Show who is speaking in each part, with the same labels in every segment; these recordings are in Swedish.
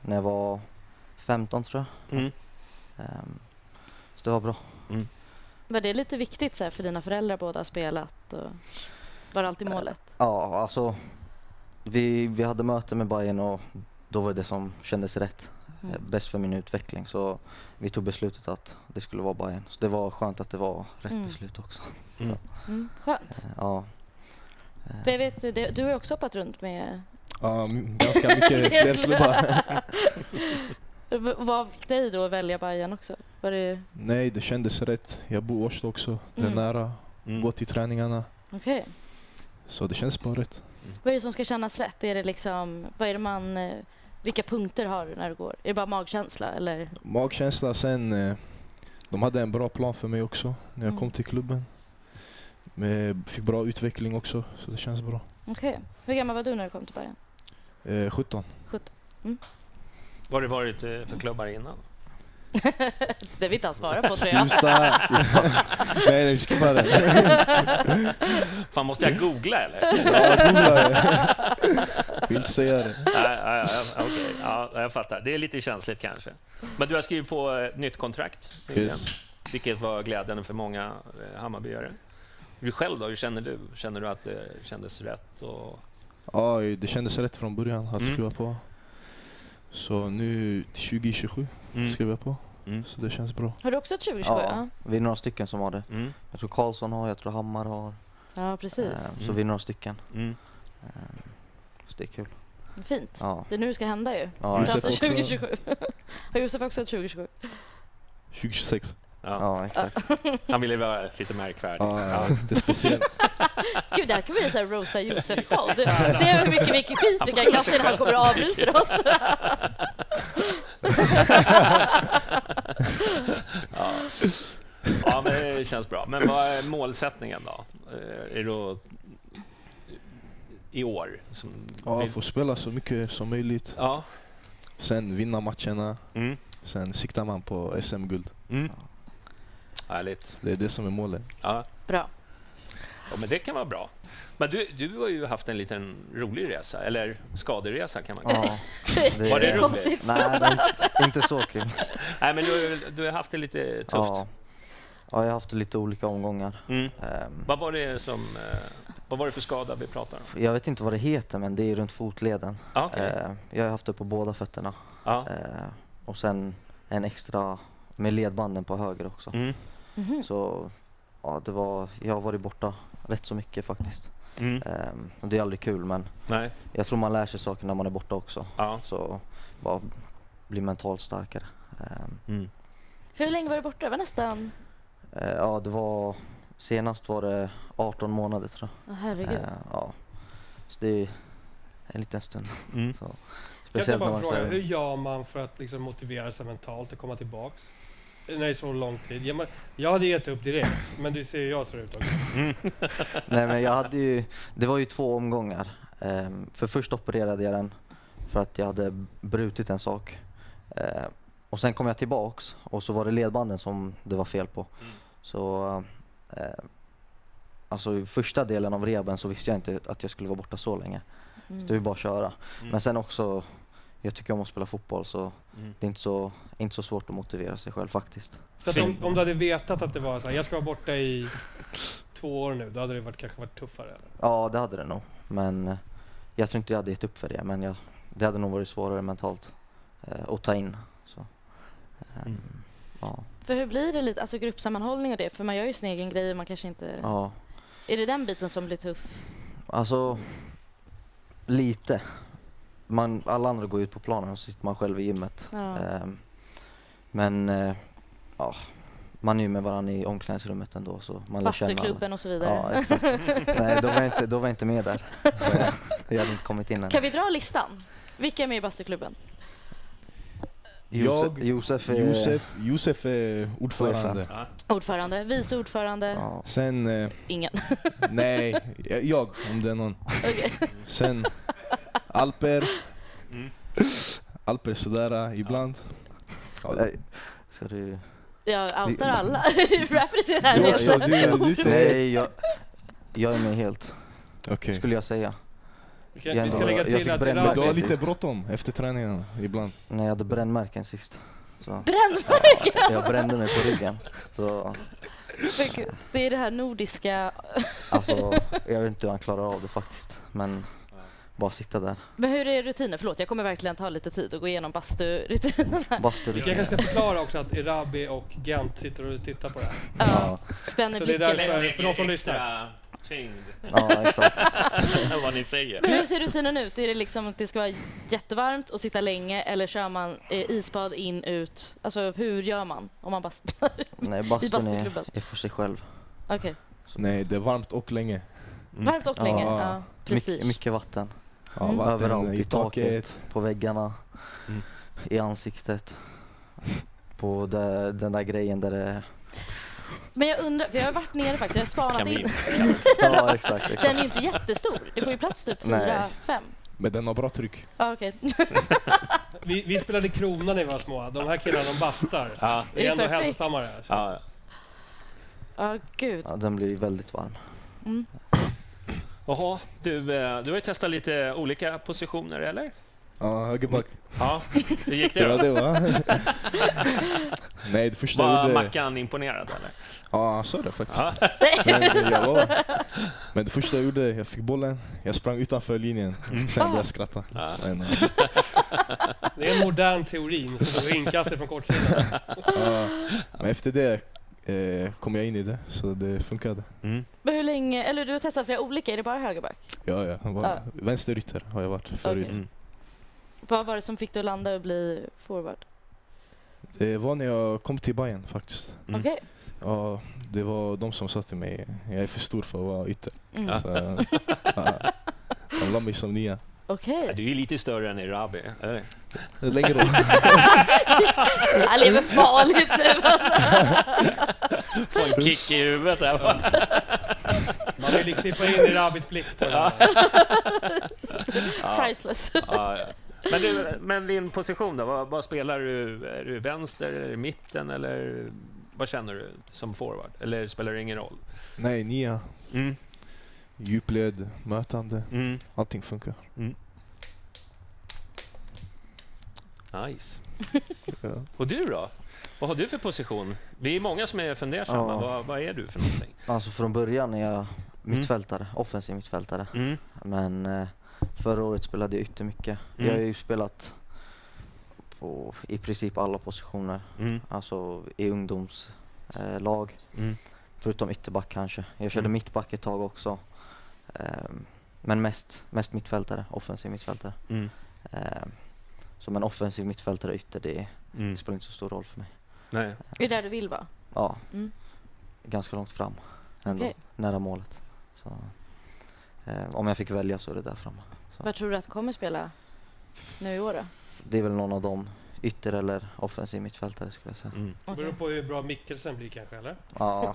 Speaker 1: när jag var 15 tror jag.
Speaker 2: Mm.
Speaker 1: Ehm, så det var bra.
Speaker 3: Var det lite viktigt så här, för dina föräldrar båda har spelat? Och var det eh, alltid målet?
Speaker 1: Ja, alltså vi, vi hade möte med Bayern och då var det det som kändes rätt. eh,
Speaker 3: Mm.
Speaker 1: Bäst för min utveckling. Så vi tog beslutet att det skulle vara Bayern. Så det var skönt att det var rätt
Speaker 3: Mm.
Speaker 1: beslut också. Eh,
Speaker 3: Mm, skönt.
Speaker 1: Ja,
Speaker 3: För jag vet, ju, det- du har ju också hoppat runt med
Speaker 4: Ja, m- ganska mycket fler klubbar.
Speaker 3: V- Vad fick dig då att välja Bayern också? Var det...
Speaker 4: Nej, det kändes rätt. Jag bor i Årsta också. Det är
Speaker 3: Mm.
Speaker 4: nära. Gå till träningarna.
Speaker 3: Okej.
Speaker 4: Så det känns bara rätt.
Speaker 3: Vad är det som ska kännas rätt? Är det liksom, vad är det man, eh, vilka punkter har du när du går? Är det bara magkänsla eller?
Speaker 4: Magkänsla sen. eh, De hade en bra plan för mig också när jag
Speaker 3: Mm.
Speaker 4: kom till klubben. Men fick bra utveckling också, så det känns bra.
Speaker 3: Okej. Hur gammal var du när du kom till Bayern?
Speaker 4: Eh, 17.
Speaker 3: Mm.
Speaker 2: Vad har det varit eh, för klubbar innan?
Speaker 3: det vill inte han svara på tror jag.
Speaker 4: Stuvsta. Nej, nej, vi skippar det.
Speaker 2: Fan, måste jag googla eller?
Speaker 4: Ja, googla det. Vill inte säga det.
Speaker 2: Nej, nej, nej, okej. ja, jag fattar. Det är lite känsligt kanske. Men du har skrivit på eh, nytt kontrakt, nyligen,
Speaker 4: Yes.
Speaker 2: vilket var glädjande för många eh, Hammarbyare. Du själv då, hur känner du? Känner du att det kändes rätt? Och...
Speaker 4: Ja, det kändes rätt från början att
Speaker 2: Mm.
Speaker 4: skriva på. Så nu till 2027
Speaker 2: Mm.
Speaker 4: skriver jag på.
Speaker 2: Mm.
Speaker 4: Så det känns bra.
Speaker 3: Har du också ett 2027?
Speaker 1: ja,
Speaker 3: Ja.
Speaker 1: vi är några stycken som har det.
Speaker 2: Mm.
Speaker 1: Jag tror Karlsson har, jag tror Hammar har.
Speaker 3: ja, precis.
Speaker 1: Ehm, Så
Speaker 2: Mm.
Speaker 1: vi är några stycken.
Speaker 2: Mm.
Speaker 1: Så det är kul.
Speaker 3: Fint.
Speaker 1: Ja,
Speaker 3: Det är nu det ska hända ju.
Speaker 1: ja,
Speaker 4: Josef
Speaker 1: ja,
Speaker 3: Fram till
Speaker 4: också.
Speaker 3: 2027. Har Josef också ett 2027?
Speaker 4: 2026.
Speaker 2: Ja.
Speaker 1: exakt.
Speaker 2: Han ville vara lite märkvärdig.
Speaker 4: Ja,
Speaker 2: Ja.
Speaker 4: lite speciellt.
Speaker 3: Gud, det här kan bli en roasta Josef-podd. Se hur mycket, mycket skit vi kan kasta innan han kommer och avbryter oss.
Speaker 2: Ja. ja, men det känns bra. Men vad är målsättningen då? Eh, Är det att- i år? Som
Speaker 4: Ja,
Speaker 2: vi-
Speaker 4: få spela så mycket som möjligt.
Speaker 2: ja.
Speaker 4: Sen vinna matcherna.
Speaker 2: Mm.
Speaker 4: Sen siktar man på SM-guld.
Speaker 2: Mm. Härligt.
Speaker 4: Det är det som är målet.
Speaker 2: Ja.
Speaker 3: Bra.
Speaker 2: Ja, men det kan vara bra. Men du, du har ju haft en liten rolig resa, eller skaderesa kan man kalla
Speaker 1: Ja,
Speaker 2: Var det
Speaker 3: Det
Speaker 2: roligt?
Speaker 3: kom sitt
Speaker 1: Nej, det är inte- inte så kul.
Speaker 2: det. Nej, men du, har ju- du har haft det lite tufft.
Speaker 1: Ja. ja, jag har haft lite olika omgångar.
Speaker 2: Mm.
Speaker 1: Ehm,
Speaker 2: Vad var det som... eh, Vad var det för skada vi pratade om?
Speaker 1: Jag vet inte vad det heter men det är runt fotleden.
Speaker 2: Ja, okej.
Speaker 1: Eh, jag har haft det på båda fötterna.
Speaker 2: Ja.
Speaker 1: Eh, och sen en extra med ledbanden på höger också.
Speaker 2: Mm.
Speaker 3: Mhm.
Speaker 1: Så ja, det var, jag har varit borta rätt så mycket faktiskt.
Speaker 2: Mm.
Speaker 1: Eh, och det är aldrig kul men
Speaker 2: Nej.
Speaker 1: jag tror man lär sig saker när man är borta också.
Speaker 2: Ja.
Speaker 1: Så bara bli mentalt starkare. Eh,
Speaker 2: Mm.
Speaker 3: För hur länge var du borta? Det var nästan...
Speaker 1: eh, ja, det var, senast var det 18 månader tror jag. Ehm,
Speaker 3: Oh, herregud.
Speaker 1: Eh, ja. Så det är en liten stund.
Speaker 2: Mm.
Speaker 1: Så.
Speaker 5: Kan jag
Speaker 1: Speciellt när
Speaker 5: bara
Speaker 1: man
Speaker 5: fråga, hur
Speaker 1: säger...
Speaker 5: gör man för att liksom motivera sig mentalt att komma tillbaks? När det är så lång tid. Ja, men, jag hade gett upp direkt, men du ser ju hur jag ser ut också.
Speaker 1: Nej men jag hade ju, det var ju två omgångar. Ehm, för först opererade jag den för att jag hade brutit en sak. Ehm, och sen kom jag tillbaks och så var det ledbanden som det var fel på.
Speaker 2: Mm.
Speaker 1: Så ehm, Alltså i första delen av reben så visste jag inte att jag skulle vara borta så länge.
Speaker 3: Mm.
Speaker 1: Det var ju bara att köra.
Speaker 2: Mm.
Speaker 1: Men sen också, jag tycker om att spela fotboll så
Speaker 2: Mm.
Speaker 1: det är inte så, inte så svårt att motivera sig själv faktiskt.
Speaker 5: Så att om, om du hade vetat att det var så här, jag ska vara borta i två år nu, då hade det varit, kanske varit tuffare. Eller?
Speaker 1: Ja, det hade det nog. Men eh, jag tror inte jag hade gett upp för det. Men jag, det hade nog varit svårare mentalt eh, att ta in. Så. Ehm,
Speaker 2: Mm.
Speaker 1: ja,
Speaker 3: För hur blir det lite, alltså gruppsammanhållning och det? För man gör ju sin egen grej och man kanske inte...
Speaker 1: ja,
Speaker 3: Är det den biten som blir tuff?
Speaker 1: alltså lite. Man, alla andra går ut på planen och så sitter man själv i gymmet.
Speaker 3: Ja.
Speaker 1: Ehm, men eh, ja, man är ju med varandra i omklädningsrummet ändå. Så man lär känna alla.
Speaker 3: Bastuklubben och så vidare.
Speaker 1: Ja, exakt. Nej, då var, jag inte, då var jag inte med där. Så jag, jag hade inte kommit in än.
Speaker 3: Kan vi dra listan? Vilka är med i bastuklubben?
Speaker 1: Josef,
Speaker 4: Jag-
Speaker 1: Josef, är-
Speaker 4: Josef, Josef är ordförande.
Speaker 2: Ja.
Speaker 3: Ordförande, vice ordförande,
Speaker 1: Ja.
Speaker 4: Sen, eh,
Speaker 3: ingen.
Speaker 4: nej, jag- jag om det är någon.
Speaker 3: Okej.
Speaker 4: Sen Alper.
Speaker 2: Mm.
Speaker 4: Alper sådär eh, ibland. Ja,
Speaker 1: Nej, Ska du...
Speaker 3: Jag outar
Speaker 1: Vi-
Speaker 3: alla. Rappers är här.
Speaker 4: Du,
Speaker 1: jag-
Speaker 4: alltså,
Speaker 3: Josef.
Speaker 4: du, du, är inte-
Speaker 1: Nej, jag, jag är med helt,
Speaker 4: Okej.
Speaker 1: skulle jag säga.
Speaker 5: Vi, kan,
Speaker 1: Jag
Speaker 5: vi ska
Speaker 1: ändå-
Speaker 5: lägga
Speaker 1: jag
Speaker 5: till
Speaker 1: fick
Speaker 5: att
Speaker 1: bränna
Speaker 4: Men Du har
Speaker 5: Rabis,
Speaker 4: lite bråttom efter träningen ibland.
Speaker 1: När jag hade brännmärken sist. Så,
Speaker 3: Brännmärken!
Speaker 1: jag brände mig på ryggen. Så,
Speaker 3: Men gud, Det är det här nordiska.
Speaker 1: alltså, jag vet inte hur han klarar av det faktiskt. Men bara sitta där.
Speaker 3: Men hur är rutinen? Förlåt, jag kommer verkligen ta lite tid och gå igenom basturutinen. här.
Speaker 5: vi kan
Speaker 1: Basturycken.
Speaker 5: kanske förklara också att Erabi och Gent sitter och tittar på det här.
Speaker 3: Ja, spänner
Speaker 5: Så det är
Speaker 3: blicken.
Speaker 5: därför-
Speaker 3: lite.
Speaker 5: För- för de som lyssnar.
Speaker 2: Extra tyngd
Speaker 1: Ja, exakt.
Speaker 2: än vad ni säger.
Speaker 4: Mm.
Speaker 3: Men hur ser rutinen ut? Är det liksom att det ska vara jättevarmt och sitta länge eller kör man eh, isbad in, ut? Alltså hur gör man om man bastar?
Speaker 1: Nej, bastun
Speaker 3: bastuklubben.
Speaker 1: är, är för sig själv.
Speaker 3: Okej,
Speaker 4: Nej, det är varmt och länge.
Speaker 3: varmt och länge.
Speaker 1: Mm. Ja.
Speaker 3: Ja,
Speaker 1: Mycket,
Speaker 3: prestige.
Speaker 1: mycket vatten.
Speaker 4: Ja,
Speaker 3: Mm.
Speaker 4: vatten
Speaker 1: Överallt. I taket,
Speaker 4: taket.
Speaker 1: på väggarna,
Speaker 2: Mm.
Speaker 1: i ansiktet. På det, den där grejen där det...
Speaker 3: Men jag undrar, för jag har varit nere faktiskt, jag har spanat in.
Speaker 2: Kamin.
Speaker 1: Ja, exakt.
Speaker 3: Den är
Speaker 1: exakt.
Speaker 3: ju inte jättestor. Det får ju plats typ
Speaker 1: Nej.
Speaker 3: fyra, fem.
Speaker 4: Men den har bra tryck.
Speaker 3: Ja, okej.
Speaker 5: Vi, vi spelade krona när vi var små. De här killarna, de bastar.
Speaker 2: Ja.
Speaker 5: Det är ändå
Speaker 3: Det är perfekt.
Speaker 5: hälsosammare. känns det.
Speaker 2: Ja.
Speaker 3: Ja, gud.
Speaker 1: Ja, den blir väldigt varm.
Speaker 2: Jaha, du, eh, du har ju testat lite olika positioner, eller?
Speaker 4: Ja, högerback.
Speaker 2: Ja, hur gick det
Speaker 4: Det var
Speaker 2: då?
Speaker 4: det va? Nej, det första jag
Speaker 2: Var
Speaker 4: gjorde...
Speaker 2: Mackan imponerad, eller?
Speaker 4: Ja, han sa det faktiskt.
Speaker 2: Ja.
Speaker 4: Men, jag var... Men det första jag gjorde, jag fick bollen, jag sprang utanför linjen. Sen började jag skratta.
Speaker 2: Ja.
Speaker 4: Men, eh,
Speaker 5: Det är en modern teorin som inkastet från kortsidan.
Speaker 4: ja. Men efter det eh, kom jag in i det, så det funkade.
Speaker 5: Mm.
Speaker 3: Men hur länge, eller du har testat flera olika, är det bara högerback?
Speaker 4: Ja, ja. Han var
Speaker 3: Ja.
Speaker 4: Vänsterytter har jag varit förut.
Speaker 3: Okej. Vad var det som fick dig att landa och bli forward?
Speaker 4: Det var när jag kom till Bayern faktiskt.
Speaker 2: Mm.
Speaker 3: Okej.
Speaker 4: Ja, det var de som sa till mig, jag är för stor för att vara ytter.
Speaker 3: Mm.
Speaker 4: Så, ja, de la mig som nia.
Speaker 3: Okej.
Speaker 2: Ja, Du är ju lite större än Erabi, eller?
Speaker 4: Längre
Speaker 3: Han lever farligt nu.
Speaker 2: Får en kick i huvudet där. va?
Speaker 5: Man vill ju klippa in Erabis blick på det här.
Speaker 3: Priceless.
Speaker 2: Ja, ja. Men, du, men din position då? Vad, vad spelar du? Är du vänster, eller mitten eller vad känner du som forward? Eller spelar det ingen roll?
Speaker 4: Nej, nia.
Speaker 2: Mm.
Speaker 4: Djupled, mötande.
Speaker 2: Mm.
Speaker 4: Allting funkar.
Speaker 2: Nice. Och du då? Vad har du för position? Vi är många som är fundersamma.
Speaker 1: Ja.
Speaker 2: Vad, vad är du för någonting?
Speaker 1: Alltså från början är jag mittfältare, offensiv mittfältare.
Speaker 2: Mm.
Speaker 1: Men eh, förra året spelade jag yttermycket.
Speaker 2: Mm.
Speaker 1: Jag har ju spelat på i princip alla positioner.
Speaker 2: Mm.
Speaker 1: Alltså i ungdomslag, eh, lag,
Speaker 2: Mm.
Speaker 1: förutom ytterback kanske. Jag körde
Speaker 2: Mm.
Speaker 1: mittback ett tag också. Ehm, men mest, mest mittfältare, offensiv mittfältare.
Speaker 2: Mm.
Speaker 1: Ehm, så men offensiv mittfältare och ytter, det,
Speaker 2: Mm.
Speaker 1: det spelar inte så stor roll för mig.
Speaker 2: Nej.
Speaker 3: Det är där du vill vara.
Speaker 1: Ja,
Speaker 3: Mm.
Speaker 1: ganska långt fram ändå,
Speaker 3: Okej.
Speaker 1: nära målet. Så, eh, om jag fick välja så är det där framme.
Speaker 3: Vad tror du att du kommer spela? nu i år då?
Speaker 1: Det är väl någon av dem. Ytter eller offensiv mittfältare skulle jag säga.
Speaker 2: Mm.
Speaker 3: Okej.
Speaker 5: Beror på hur bra Mikkelsen blir kanske, eller?
Speaker 1: Ja,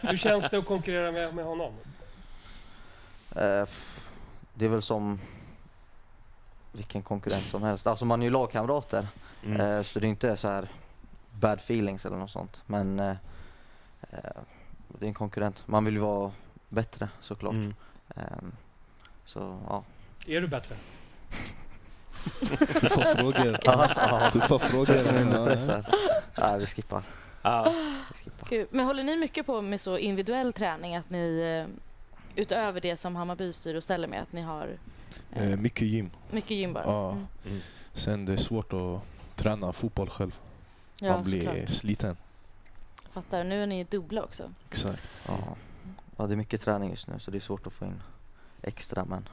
Speaker 5: Hur känns det att konkurrera med, med honom?
Speaker 1: eh, det är väl som vilken konkurrent som helst. Alltså man är ju lagkamrater.
Speaker 2: Mm.
Speaker 1: Eh, så det är inte så här bad feelings eller något sånt. Men eh, eh, det är en konkurrent. Man vill ju vara bättre såklart.
Speaker 2: Mm.
Speaker 1: Ehm, så ja.
Speaker 5: Är du bättre?
Speaker 4: Tuffa frågor. Tuffa
Speaker 1: Sätter mig under
Speaker 4: frågor.
Speaker 1: press
Speaker 4: Ja,
Speaker 1: här. Nej, vi skippar.
Speaker 2: Ja.
Speaker 1: Vi skippar.
Speaker 3: Kul. Men håller ni mycket på med så individuell träning att ni eh, utöver det som Hammarby styr och ställer med att ni har
Speaker 4: ja. Eh, Mycket gym.
Speaker 3: mycket gym bara?
Speaker 4: Ja.
Speaker 3: Mm.
Speaker 4: Sen det är svårt att träna fotboll själv.
Speaker 3: Ja,
Speaker 4: Man blir
Speaker 3: såklart.
Speaker 4: sliten.
Speaker 3: Fattar. Nu är ni dubbla också.
Speaker 4: Exakt.
Speaker 1: Ja. ja, det är mycket träning just nu så det är svårt att få in extra. Men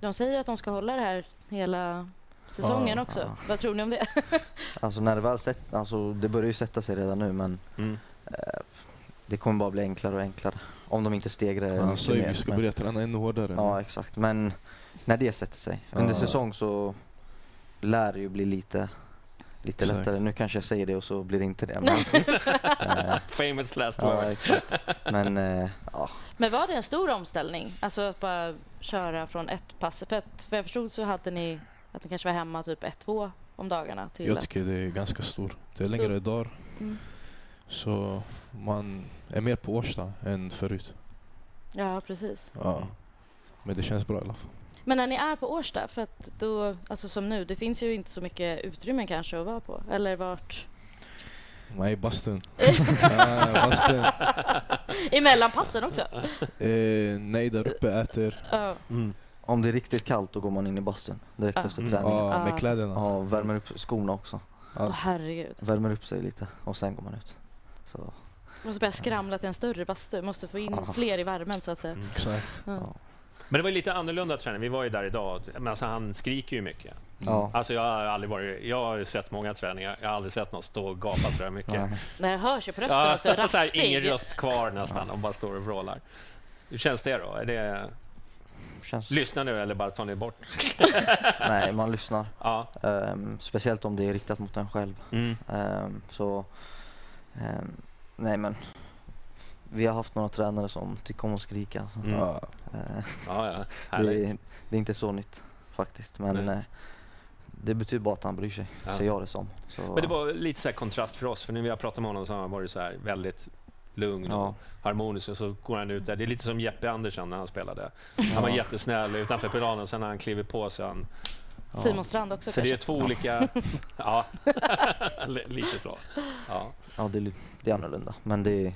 Speaker 3: De säger ju att de ska hålla det här hela säsongen
Speaker 4: Ja,
Speaker 3: också.
Speaker 1: ja.
Speaker 3: Vad tror ni om det?
Speaker 1: alltså när det väl sett, alltså det börjar ju sätta sig redan nu men eh,
Speaker 2: Mm.
Speaker 1: det kommer bara bli enklare och enklare. Om de inte stegrar det
Speaker 4: Han
Speaker 1: Eh, mycket
Speaker 4: sa ju
Speaker 1: mer,
Speaker 4: vi ska
Speaker 1: men-
Speaker 4: börja träna ännu hårdare.
Speaker 1: Ja exakt, men när det sätter sig. Under
Speaker 4: Ja.
Speaker 1: säsong så lär det ju bli lite, lite
Speaker 4: Exakt.
Speaker 1: lättare. Nu kanske jag säger det och så blir det inte det. Men, eh,
Speaker 2: Famous last
Speaker 1: ja,
Speaker 2: word.
Speaker 1: exakt. men eh, ja,
Speaker 3: Men var det en stor omställning? Alltså att bara köra från ett pass? För, att, för jag förstod så hade ni att ni kanske var hemma typ ett, två om dagarna. Till
Speaker 4: Jag
Speaker 3: att-
Speaker 4: tycker det är ganska stor. Det är
Speaker 3: Stor.
Speaker 4: längre dagar.
Speaker 3: Mm.
Speaker 4: Så man är mer på Årsta än förut.
Speaker 3: Ja, precis.
Speaker 4: Ja.
Speaker 1: Mm.
Speaker 4: Men det känns bra i alla fall.
Speaker 3: Men när ni är på Årsta, för att då, alltså som nu, det finns ju inte så mycket utrymme kanske att vara på. Eller vart?
Speaker 4: Nej, bastun. Nej, bastun.
Speaker 3: Emellan passen också.
Speaker 4: Eh, nej, där uppe äter.
Speaker 3: Ja.
Speaker 2: Mm.
Speaker 1: om det är riktigt kallt då går man in i bastun direkt
Speaker 3: Ah.
Speaker 1: efter
Speaker 2: Mm.
Speaker 1: träningen.
Speaker 4: Ja,
Speaker 3: Ah.
Speaker 4: med kläderna.
Speaker 1: Ja, värmer upp skorna också. Ah.
Speaker 3: Åh herregud.
Speaker 1: Värmer upp sig lite och sen går man ut. Så, mm.
Speaker 3: Måste börja skramla till en större bastu. Måste få in
Speaker 1: Ja.
Speaker 3: fler i värmen så att säga.
Speaker 4: Mm. Exakt.
Speaker 2: Men det var ju lite annorlunda träning. Vi var ju där idag. Men alltså, han skriker ju mycket.
Speaker 1: ja.
Speaker 2: Alltså, jag, har aldrig varit, jag har ju sett många träningar. Jag har aldrig sett någon stå och gapa så där mycket.
Speaker 1: Nej.
Speaker 3: Det här hörs ju på rösten
Speaker 2: Ja,
Speaker 3: också.
Speaker 2: så här, ingen
Speaker 3: Raspig.
Speaker 2: röst kvar nästan. De bara står och vrålar. Hur känns det då? Är det,
Speaker 1: Känns,
Speaker 2: lyssnar nu eller bara tar ni bort?
Speaker 1: nej, man lyssnar.
Speaker 2: Ja.
Speaker 1: Ehm, speciellt om det är riktat mot en själv.
Speaker 2: Mm.
Speaker 1: Ehm, så, ehm, nej men. Vi har haft några tränare som tycker om att skrika. Alltså.
Speaker 2: Mm.
Speaker 4: Ja.
Speaker 1: Ehm,
Speaker 2: Ja, ja.
Speaker 1: det,
Speaker 2: Härligt.
Speaker 1: är- det är inte så nytt faktiskt. Men
Speaker 2: Nej.
Speaker 1: eh, det betyder bara att han bryr sig,
Speaker 2: Ja.
Speaker 1: ser jag det som. Så,
Speaker 2: Men det var lite så här kontrast för oss, för när vi har pratat med honom så har han varit så här väldigt lugn och
Speaker 1: Ja.
Speaker 2: harmonisk och så går han ut där. Det är lite som Jeppe Andersson när han spelade. Han var
Speaker 1: Ja.
Speaker 2: jättesnäll utanför planen och sen när han kliver på så han...
Speaker 1: ja.
Speaker 3: Simon Strand också
Speaker 2: Så det är
Speaker 3: kanske.
Speaker 2: två olika... Ja, li- lite så. Ja.
Speaker 1: Ja, det, är li- det är annorlunda. Men det är,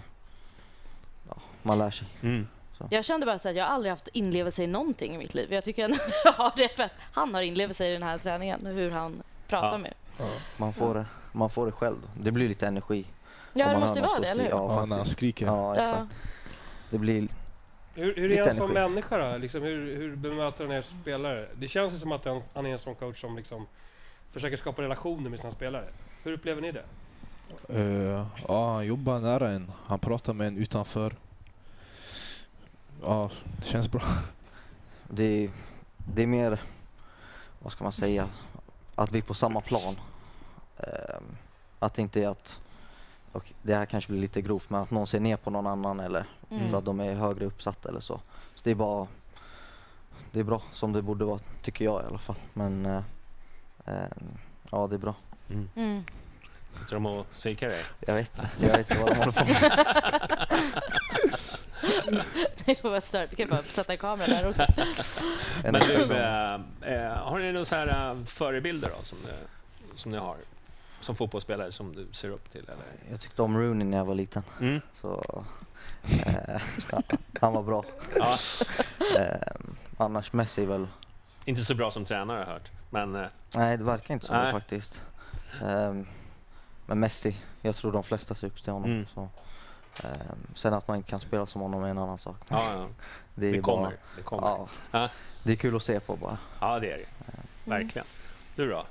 Speaker 1: ja, man lär sig.
Speaker 2: Mm.
Speaker 3: Jag kände bara så att jag har aldrig haft inlevelse i någonting i mitt liv. Jag tycker ändå att jag har det för att han har inlevelse i den här träningen och hur han pratar
Speaker 2: Ja.
Speaker 3: med
Speaker 1: Man får, det, man får det själv. Det blir lite energi.
Speaker 3: Ja,
Speaker 1: om
Speaker 3: det
Speaker 1: man
Speaker 3: måste
Speaker 1: hör
Speaker 3: ju
Speaker 1: någon stå
Speaker 3: vara det,
Speaker 1: och
Speaker 3: eller hur?
Speaker 1: skrika.
Speaker 4: Ja, när
Speaker 1: Ja,
Speaker 4: han
Speaker 1: faktiskt. Ja,
Speaker 4: skriker.
Speaker 3: Ja.
Speaker 1: exakt. Det blir,
Speaker 5: Hur, hur
Speaker 1: Lite
Speaker 5: är han som
Speaker 1: energi.
Speaker 5: människa då? Liksom, hur, hur bemöter han er spelare? Det känns ju som att han, han är en sån coach som liksom försöker skapa relationer med sina spelare. Hur upplever ni det?
Speaker 4: Eh, ja, han jobbar nära en. Han pratar med en utanför. Ja, det känns bra.
Speaker 1: det, är, det är mer, vad ska man säga, att vi är på samma plan. Ehm, att det inte är att, och det här kanske blir lite grovt, men att någon ser ner på någon annan eller
Speaker 3: Mm.
Speaker 1: för att de är högre uppsatta eller så. Så det är bara, det är bra som det borde vara, tycker jag i alla fall. Men eh, ehm, ja, det är bra.
Speaker 3: Mm.
Speaker 2: Sitter de och psykar dig?
Speaker 1: Jag vet, jag vet inte vad de håller på med.
Speaker 3: Det var stört. Vi kan ju bara sätta en kamera där också.
Speaker 1: En
Speaker 2: Men
Speaker 1: extra
Speaker 2: du,
Speaker 1: gång.
Speaker 2: eh, eh, har ni några så här eh, förebilder då, som, ni- som ni har? Som fotbollsspelare som du ser upp till? Eller?
Speaker 1: Jag tyckte om Rooney när jag var liten.
Speaker 2: Mm.
Speaker 1: Så, eh, han var bra.
Speaker 2: Ja,
Speaker 1: Ehm, annars Messi är väl
Speaker 2: inte så bra som tränare har jag hört, men eh,
Speaker 1: Nej, det verkar inte så
Speaker 2: Nej.
Speaker 1: det faktiskt. Ehm, men Messi, jag tror de flesta ser upp till honom.
Speaker 2: Mm.
Speaker 1: Så. Ehm, sen att man inte kan spela som honom är en annan sak.
Speaker 2: ja, ja.
Speaker 1: Det, är
Speaker 2: det kommer.
Speaker 1: Bara,
Speaker 2: Det kommer. Ja.
Speaker 1: Ja, det är kul att se på bara.
Speaker 2: Ja, det är det. Verkligen. Du då,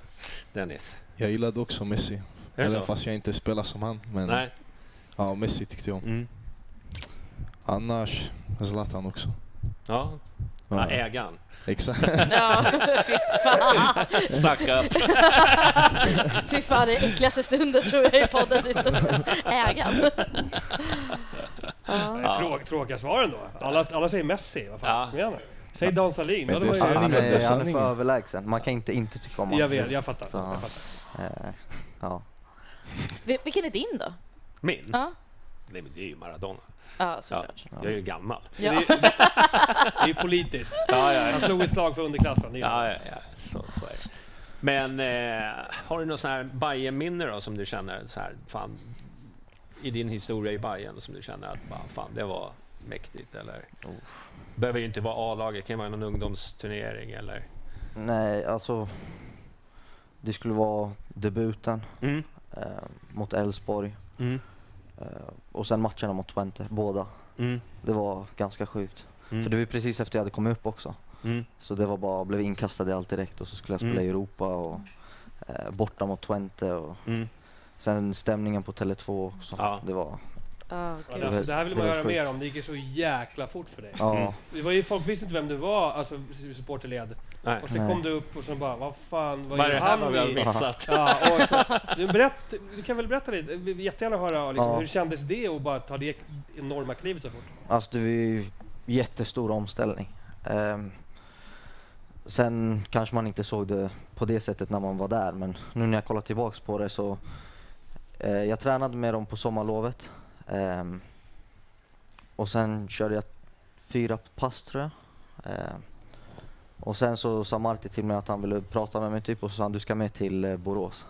Speaker 2: Dennis?
Speaker 4: Jag gillade också Messi.
Speaker 2: Är det
Speaker 4: Även
Speaker 2: så?
Speaker 4: fast jag inte spelar som han. Men
Speaker 2: Nej.
Speaker 4: ja,
Speaker 1: Mm.
Speaker 4: Messi tyckte jag om.
Speaker 2: Mm.
Speaker 4: Annars Zlatan också.
Speaker 2: Ja, Ja, ägaren.
Speaker 4: Exakt.
Speaker 3: Ja, fy fan.
Speaker 2: Suck up.
Speaker 3: Fy fan, det är äckligaste stunden tror jag i poddens historia. Ägaren. Ja.
Speaker 5: Tråk, tråkiga svar ändå. Alla, alla säger Messi. Vad
Speaker 2: Ja.
Speaker 5: fan. Kom igen nu. Säg Dan Sahlin.
Speaker 4: Men
Speaker 5: Ja, det
Speaker 4: det
Speaker 5: var
Speaker 4: är
Speaker 5: ju-
Speaker 4: sanningen.
Speaker 1: Han är, han är
Speaker 4: sanningen.
Speaker 1: för överlägsen. Man kan inte inte tycka om honom.
Speaker 5: Jag vet, jag fattar.
Speaker 1: Så.
Speaker 5: Jag fattar.
Speaker 1: Eh, ja.
Speaker 3: Vil- Vilken är din då?
Speaker 2: Min?
Speaker 3: Ja,
Speaker 2: Nej, men det är ju Maradona.
Speaker 3: ja
Speaker 2: Ja,
Speaker 3: såklart.
Speaker 2: jag är ju gammal.
Speaker 5: Det,
Speaker 3: Ja.
Speaker 5: är, det är ju politiskt.
Speaker 2: Ja, ja,
Speaker 5: Han
Speaker 2: ja.
Speaker 5: slog ett slag för underklassen. det är-
Speaker 2: ja, ja, ja. Så, så är det. Men eh, har du något sån här Bajen-minne då som du känner så här, fan, i din historia i Bajen som du känner att bara, fan, det var mäktigt eller? Behöver ju inte vara A-laget, det kan ju vara någon ungdomsturnering eller?
Speaker 1: Nej, alltså. Det skulle vara debuten
Speaker 2: Mm.
Speaker 1: eh, mot Elfsborg
Speaker 2: Mm.
Speaker 1: eh, och sen matcherna mot Twente, båda.
Speaker 2: Mm.
Speaker 1: Det var ganska sjukt.
Speaker 2: Mm.
Speaker 1: För det var ju precis efter jag hade kommit upp också.
Speaker 2: Mm.
Speaker 1: Så det var bara, blev inkastad i allt direkt och så skulle jag spela
Speaker 2: Mm.
Speaker 1: i Europa och eh, borta mot Twente och
Speaker 2: Mm.
Speaker 1: sen stämningen på Tele2 också.
Speaker 2: Ja.
Speaker 1: Det var,
Speaker 3: Ja,
Speaker 5: Ja,
Speaker 3: gud.
Speaker 5: det, alltså, det här vill man
Speaker 1: Det var
Speaker 5: göra
Speaker 1: sjukt.
Speaker 5: mer om. Det gick ju så jäkla fort för dig.
Speaker 1: ja.
Speaker 2: Mm.
Speaker 5: Det var ju, folk visste inte vem du var, alltså supporterled.
Speaker 2: Nej.
Speaker 5: Och sen
Speaker 1: Nej.
Speaker 5: kom du upp och sen bara, vad fan, vad
Speaker 2: Vad är
Speaker 5: gör
Speaker 2: det här vad
Speaker 5: han
Speaker 2: vi har
Speaker 5: i...
Speaker 2: missat?
Speaker 5: Ja, och så, du, berätt, du kan väl berätta lite, vi vill jättegärna höra liksom,
Speaker 1: Ja.
Speaker 5: hur kändes det att bara ta det enorma klivet så fort?
Speaker 1: Alltså det var ju jättestor omställning. Ehm, sen kanske man inte såg det på det sättet när man var där men nu när jag kollar tillbaks på det så eh, jag tränade med dem på sommarlovet Ehm, och sen körde jag fyra pass tror jag. Ehm, och sen så sa Marti till mig att han ville prata med mig typ och så sa han du ska med till eh, Borås.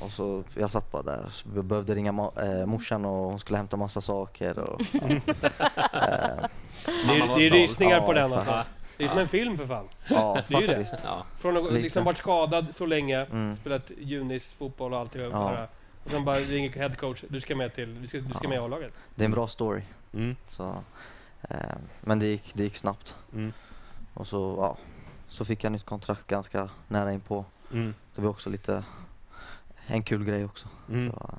Speaker 1: och så jag satt bara där så jag behövde ringa ma- eh, morsan och hon skulle hämta massa saker och Ehm. Eh,
Speaker 5: Det
Speaker 2: Mamma
Speaker 5: är,
Speaker 2: var
Speaker 5: det är
Speaker 2: stolt.
Speaker 5: rysningar på
Speaker 1: Ja,
Speaker 5: den
Speaker 1: exakt.
Speaker 5: alltså. Det är som en film för fan.
Speaker 1: ja,
Speaker 5: Det är ju det.
Speaker 1: faktiskt.
Speaker 2: Ja.
Speaker 5: Från att
Speaker 1: Lite.
Speaker 5: liksom varit skadad så länge,
Speaker 1: Mm.
Speaker 5: spelat junis, fotboll och allt det
Speaker 1: Ja.
Speaker 5: där. Och sen bara ringer headcoach, du ska med till, du ska, du ska
Speaker 1: Ja.
Speaker 5: med i A-laget.
Speaker 1: Det är en bra story.
Speaker 2: Mm.
Speaker 1: Så, eh, men det gick, det gick snabbt.
Speaker 2: Mm.
Speaker 1: Och så, ja, så fick jag nytt kontrakt ganska nära inpå.
Speaker 2: Mm.
Speaker 1: Det var också lite en kul grej också.
Speaker 2: Mm.
Speaker 1: Så, eh,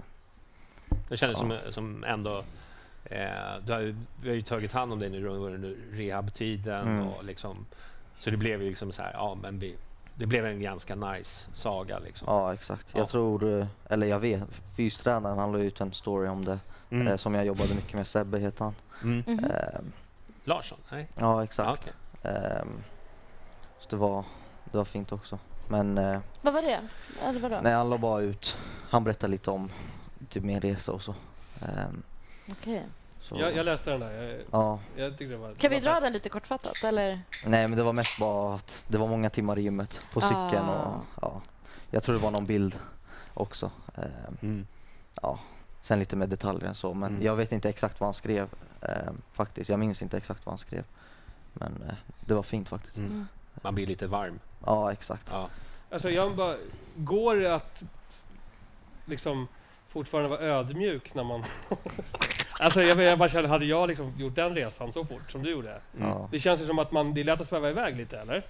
Speaker 2: Det kändes
Speaker 1: Ja.
Speaker 2: som, som ändå... Eh, du har, ju, vi har ju tagit hand om dig nu under rehabtiden
Speaker 1: Mm.
Speaker 2: och liksom... Så det blev ju liksom så här, ja men vi... Det blev en ganska nice saga liksom.
Speaker 1: ja, exakt.
Speaker 2: Ja.
Speaker 1: Jag tror, eh, eller jag vet, fystränaren han la ut en story om det.
Speaker 2: Mm.
Speaker 1: Eh, som jag jobbade mycket med, Sebbe heter han.
Speaker 2: Mm.
Speaker 3: Mhm.
Speaker 1: Eh,
Speaker 2: Larsson? Nej?
Speaker 1: ja,
Speaker 2: Ja,
Speaker 1: exakt.
Speaker 2: okej.
Speaker 1: Ehm, så det var, det var fint också. Men eh,
Speaker 3: Vad var det? Eller vadå?
Speaker 1: nej, han la bara ut, han berättade lite om typ min resa och så. Ehm,
Speaker 3: Okej.
Speaker 1: så
Speaker 5: Jag, jag läste den där, jag,
Speaker 1: ja.
Speaker 5: jag tyckte det var...
Speaker 3: Kan vi
Speaker 5: det var
Speaker 3: dra
Speaker 5: fett.
Speaker 3: den lite kortfattat eller?
Speaker 4: Mm.
Speaker 1: Nej men det var mest bara att det var många timmar i gymmet på cykeln
Speaker 3: Ah.
Speaker 1: och ja. Jag tror det var någon bild också. Ehm,
Speaker 2: Mm.
Speaker 1: ja. Sen lite mer detaljer än så men
Speaker 2: Mm.
Speaker 1: jag vet inte exakt vad han skrev ehm, faktiskt. Jag minns inte exakt vad han skrev. Men eh, det var fint faktiskt.
Speaker 2: Mm.
Speaker 3: Mm.
Speaker 2: Man blir lite varm.
Speaker 1: Ja exakt.
Speaker 2: Ja.
Speaker 5: Alltså jag bara, går det att liksom fortfarande vara ödmjuk när man... alltså jag, jag bara känner, hade jag liksom gjort den resan så fort som du gjorde?
Speaker 2: Mm.
Speaker 1: Ja.
Speaker 5: Det känns ju som att man, det är lätt att sväva iväg lite eller?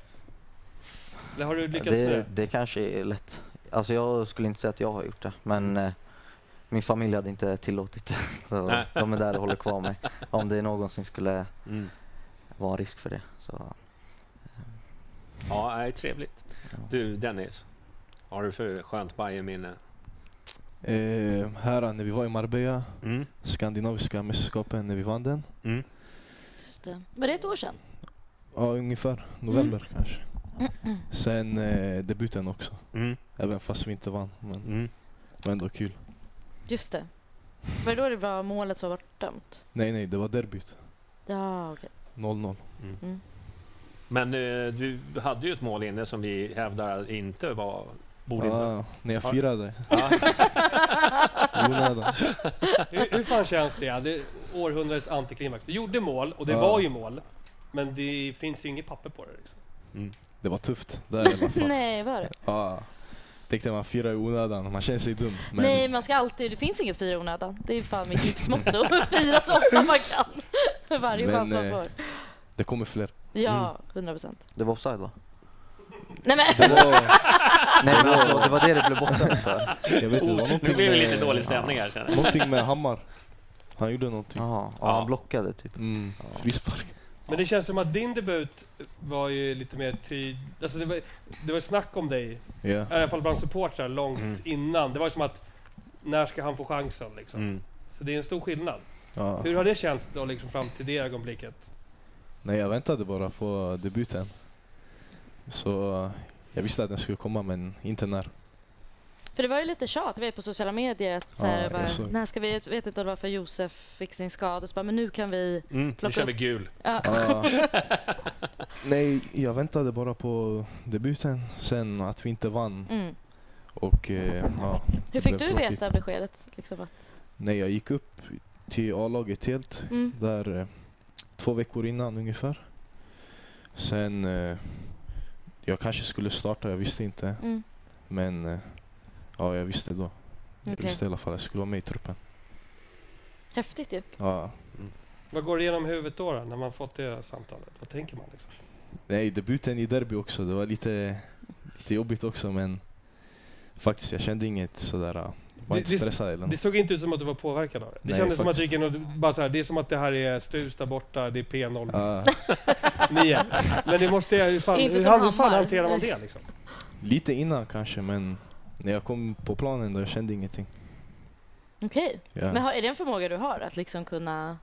Speaker 5: Eller har du lyckats med
Speaker 1: Det,
Speaker 5: det?
Speaker 1: det kanske är lätt. Alltså jag skulle inte säga att jag har gjort det men eh, min familj hade inte tillåtit det. Så
Speaker 2: Nej.
Speaker 1: de är där och håller kvar mig. Om det någonsin skulle
Speaker 2: Mm.
Speaker 1: vara en risk för det. Så,
Speaker 2: Ja, nej, trevligt.
Speaker 1: ja.
Speaker 2: Du Dennis, vad har du för skönt Bajenminne?
Speaker 4: Eh, här när vi var i Marbella,
Speaker 2: Mm.
Speaker 4: Skandinaviska mästerskapen, när vi vann den.
Speaker 2: Mm.
Speaker 3: Just det. Var det ett år sedan?
Speaker 4: Ja, ungefär. November
Speaker 3: Mm.
Speaker 4: kanske. Sen eh, debuten också.
Speaker 2: Mm.
Speaker 4: Även fast vi inte vann. Men
Speaker 2: Mm.
Speaker 4: det var ändå kul.
Speaker 3: Just det. Var det då det var målet som var bortdömt?
Speaker 4: Nej, nej, det var derbyt.
Speaker 3: Ja, okej.
Speaker 4: 0-0.
Speaker 2: Mm. Men eh, du hade ju ett mål inne som vi hävdar inte var... Borde inte... Ah.
Speaker 4: Ja, Ah, när jag firade.
Speaker 2: Ja.
Speaker 4: I onödan.
Speaker 5: Hur, hur fan känns det? det är århundradets antiklimax. Du gjorde mål, och det
Speaker 4: Ja.
Speaker 5: var ju mål. Men det finns ju inget papper på det. Liksom.
Speaker 4: Det var tufft. Där i alla fall. Ah.
Speaker 3: Nej, var det?
Speaker 4: Ja. Tänkte man firar i onödan. Man känner sig dum. Men
Speaker 3: Nej, man ska alltid... Det finns inget fira i onödan. Det är fan mitt livsmotto. Fira så ofta man kan. Varje
Speaker 4: Men,
Speaker 3: chans man
Speaker 4: eh,
Speaker 3: får.
Speaker 4: det kommer fler.
Speaker 3: Ja, 100 procent.
Speaker 1: Det var offside va?
Speaker 3: Nej men!
Speaker 4: Det var,
Speaker 1: Nej men alltså, det var det det blev bortdömt för.
Speaker 4: jag vet inte, det var
Speaker 2: Nu
Speaker 4: någonting
Speaker 2: blir det lite
Speaker 4: med-
Speaker 2: dålig stämning här känner jag.
Speaker 4: Någonting med Hammar. Han gjorde någonting.
Speaker 1: Jaha, ja,
Speaker 2: Ja.
Speaker 1: han blockade typ.
Speaker 4: Mm, frispark.
Speaker 5: Men det känns som att din debut var ju lite mer tydlig. Alltså det var, det var snack om dig,
Speaker 4: Ja.
Speaker 5: i alla fall bland supportrar, långt innan. Det var ju som att, när ska han få chansen liksom?
Speaker 4: Mm.
Speaker 5: Så det är en stor skillnad.
Speaker 4: Ja.
Speaker 5: Hur har det känts då liksom fram till det ögonblicket?
Speaker 4: Nej, jag väntade bara på debuten. Så jag visste att den skulle komma, men inte när.
Speaker 3: För det var ju lite tjat, jag vet på sociala medier. Att så
Speaker 4: Ja,
Speaker 3: här,
Speaker 4: jag
Speaker 3: bara,
Speaker 4: såg.
Speaker 3: när ska vi, jag vet inte om det var för Josef fick sin skada, och så bara, men nu kan vi...
Speaker 2: Mm, nu
Speaker 3: Plocka
Speaker 2: kör
Speaker 3: upp.
Speaker 2: vi gul.
Speaker 3: Ja.
Speaker 4: Ja. Ah. Nej, jag väntade bara på debuten, sen att vi inte vann.
Speaker 3: Mm.
Speaker 4: Och, eh, ja,
Speaker 3: Hur
Speaker 4: det
Speaker 3: fick
Speaker 4: blev
Speaker 3: du
Speaker 4: tråkigt.
Speaker 3: veta beskedet? Liksom att,
Speaker 4: Nej, jag gick upp till A-laget helt
Speaker 3: mm.
Speaker 4: där eh, två veckor innan ungefär. Sen, eh, jag kanske skulle starta, jag visste inte.
Speaker 3: Mm.
Speaker 4: Men eh, ja, jag visste då. Jag
Speaker 3: Okej.
Speaker 4: visste i alla fall att jag skulle vara med i truppen.
Speaker 3: Häftigt ju.
Speaker 4: Ja.
Speaker 5: Vad går igenom huvudet då, då när man fått det samtalet? Vad tänker man? Liksom?
Speaker 4: Nej, debuten i derby också, det var lite, lite jobbigt också men faktiskt jag kände inget sådär, eh, jag var
Speaker 5: Det-
Speaker 4: inte
Speaker 5: det-
Speaker 4: stressad eller
Speaker 5: Det
Speaker 4: något.
Speaker 5: såg inte ut som att du var påverkad av det. Det
Speaker 4: Nej,
Speaker 5: kändes som att du gick
Speaker 4: faktiskt.
Speaker 5: in och du bara så här, det är som att det här är Stus där borta, det är P09.
Speaker 4: Ja,
Speaker 5: Men det måste jag ju fan,
Speaker 3: Inte
Speaker 5: hur,
Speaker 3: som
Speaker 5: han, hur fan
Speaker 3: Hammar.
Speaker 5: hanterar man det liksom?
Speaker 4: lite innan kanske men när jag kom på planen då jag kände ingenting.
Speaker 3: Okej.
Speaker 4: Ja.
Speaker 3: Men har, är det en förmåga du har? Att liksom kunna...